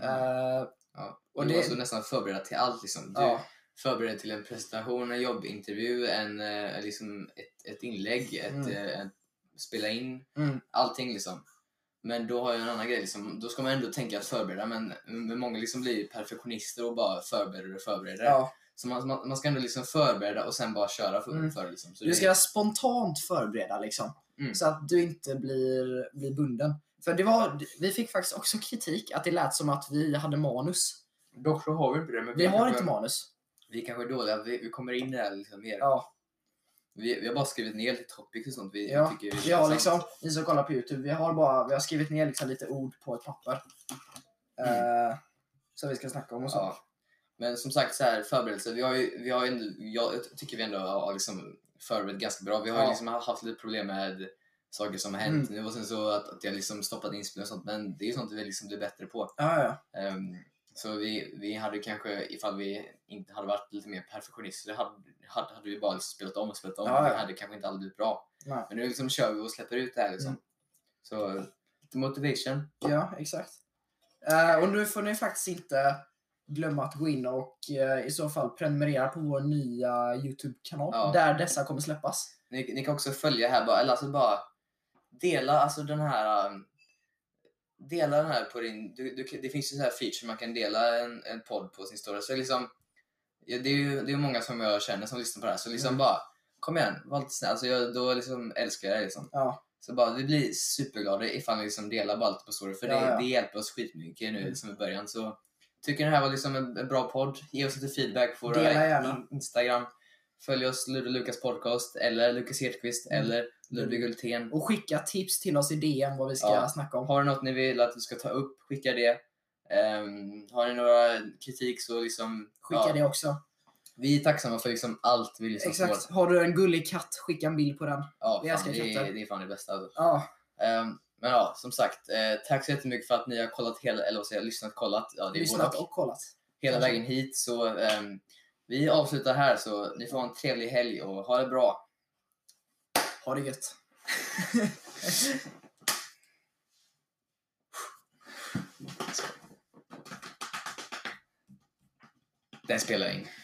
Speaker 2: Mm.
Speaker 1: Eh,
Speaker 2: ja.
Speaker 1: och
Speaker 2: Och du
Speaker 1: det-
Speaker 2: måste nästan förbereda till allt liksom. Du,
Speaker 1: ja,
Speaker 2: förberedd till en presentation, en jobbintervju, en, eh, liksom ett, ett inlägg, ett,
Speaker 1: Mm.
Speaker 2: eh, en- spela in,
Speaker 1: Mm.
Speaker 2: allting liksom. Men då har jag en annan grej, liksom, då ska man ändå tänka att förbereda, men, men många liksom blir ju perfektionister och bara förbereder och förbereder.
Speaker 1: ja.
Speaker 2: Så man, man, man ska ändå liksom förbereda och sen bara köra för,
Speaker 1: Mm.
Speaker 2: för liksom. Så
Speaker 1: Du
Speaker 2: det-
Speaker 1: ska spontant förbereda liksom.
Speaker 2: Mm.
Speaker 1: Så att du inte blir, blir bunden. För det var, vi fick faktiskt också kritik att det lät som att vi hade manus.
Speaker 2: Dock så har vi inte det. Men
Speaker 1: Vi har
Speaker 2: kanske-
Speaker 1: inte manus.
Speaker 2: Vi kanske är dåliga, vi, vi kommer in i det här liksom mer.
Speaker 1: Ja,
Speaker 2: Vi, vi har bara skrivit ner lite topics och sånt vi
Speaker 1: ja,
Speaker 2: tycker är
Speaker 1: ja
Speaker 2: intressant.
Speaker 1: liksom, ni som kollar på Youtube, vi har, bara, vi har skrivit ner liksom lite ord på ett papper. Eh, som vi ska snacka om och så.
Speaker 2: Mm. Ja. Men som sagt, så här, förberedelse. Vi har ju, vi har ju ändå, jag tycker vi ändå har liksom förberett ganska bra. Vi har ju
Speaker 1: Ja. Mm.
Speaker 2: liksom haft lite problem med saker som har hänt nu och sen så att, att jag liksom stoppat inspelning och sånt. Men det är ju sånt vi liksom blir bättre på.
Speaker 1: Ja, ja.
Speaker 2: Ehm, så vi, vi hade kanske, ifall vi inte hade varit lite mer perfektionister, hade, hade, hade vi bara liksom spelat om och spelat om.
Speaker 1: Ja, ja.
Speaker 2: Vi hade kanske inte aldrig blivit bra.
Speaker 1: Nej.
Speaker 2: Men nu liksom kör vi och släpper ut det här liksom.
Speaker 1: Mm.
Speaker 2: Så lite motivation.
Speaker 1: Ja, exakt. Eh, och nu får ni faktiskt inte glömma att gå in och eh, i så fall prenumerera på vår nya YouTube-kanal
Speaker 2: Ja.
Speaker 1: där dessa kommer släppas.
Speaker 2: Ni, ni kan också följa här bara, eller alltså bara dela alltså den här um, Dela den här på din, du, du, det finns ju så här feature man kan dela en, en podd på sin story. Så liksom, ja, det är ju det är många som jag känner som lyssnar på det här. Så liksom
Speaker 1: Mm.
Speaker 2: bara, kom igen, var lite snäll. Alltså jag, då liksom älskar jag det liksom.
Speaker 1: Ja,
Speaker 2: Så bara, vi blir superglada ifall ni liksom delar bara lite på story. För
Speaker 1: Ja,
Speaker 2: det,
Speaker 1: ja.
Speaker 2: det hjälper oss skitmycket nu
Speaker 1: Mm.
Speaker 2: liksom i början. Så tycker ni det här var liksom en, en bra podd, ge oss lite feedback på våra
Speaker 1: Dela gärna.
Speaker 2: in- Instagram. Följ oss, Ludde Lukas podcast, eller Lukas Hedqvist,
Speaker 1: Mm.
Speaker 2: eller Ludvig
Speaker 1: Mm.
Speaker 2: Hultén.
Speaker 1: och skicka tips till oss i DM vad vi ska
Speaker 2: Ja.
Speaker 1: snacka om.
Speaker 2: Har ni något ni vill att vi ska ta upp, skicka det. Ehm, har ni några kritik så liksom...
Speaker 1: Skicka
Speaker 2: ja,
Speaker 1: det också.
Speaker 2: Vi är tacksamma för liksom allt vi liksom
Speaker 1: Exakt.
Speaker 2: får.
Speaker 1: Har du en gullig katt, skicka en bild på den.
Speaker 2: Ja,
Speaker 1: Vi
Speaker 2: fan,
Speaker 1: älskar
Speaker 2: det,
Speaker 1: katter.
Speaker 2: är, det är fan det bästa. Alltså.
Speaker 1: Ja,
Speaker 2: Ehm, men ja, som sagt. eh, tack så jättemycket för att ni har kollat hela, eller vad säger jag, lyssnat, kollat. Ja, det är
Speaker 1: lyssnat
Speaker 2: både och.
Speaker 1: och kollat.
Speaker 2: Hela
Speaker 1: Kanske.
Speaker 2: vägen hit. Så ehm, vi avslutar här så ni får ha en trevlig helg och ha det bra.
Speaker 1: Ha det gött.
Speaker 2: Den spelar jag in.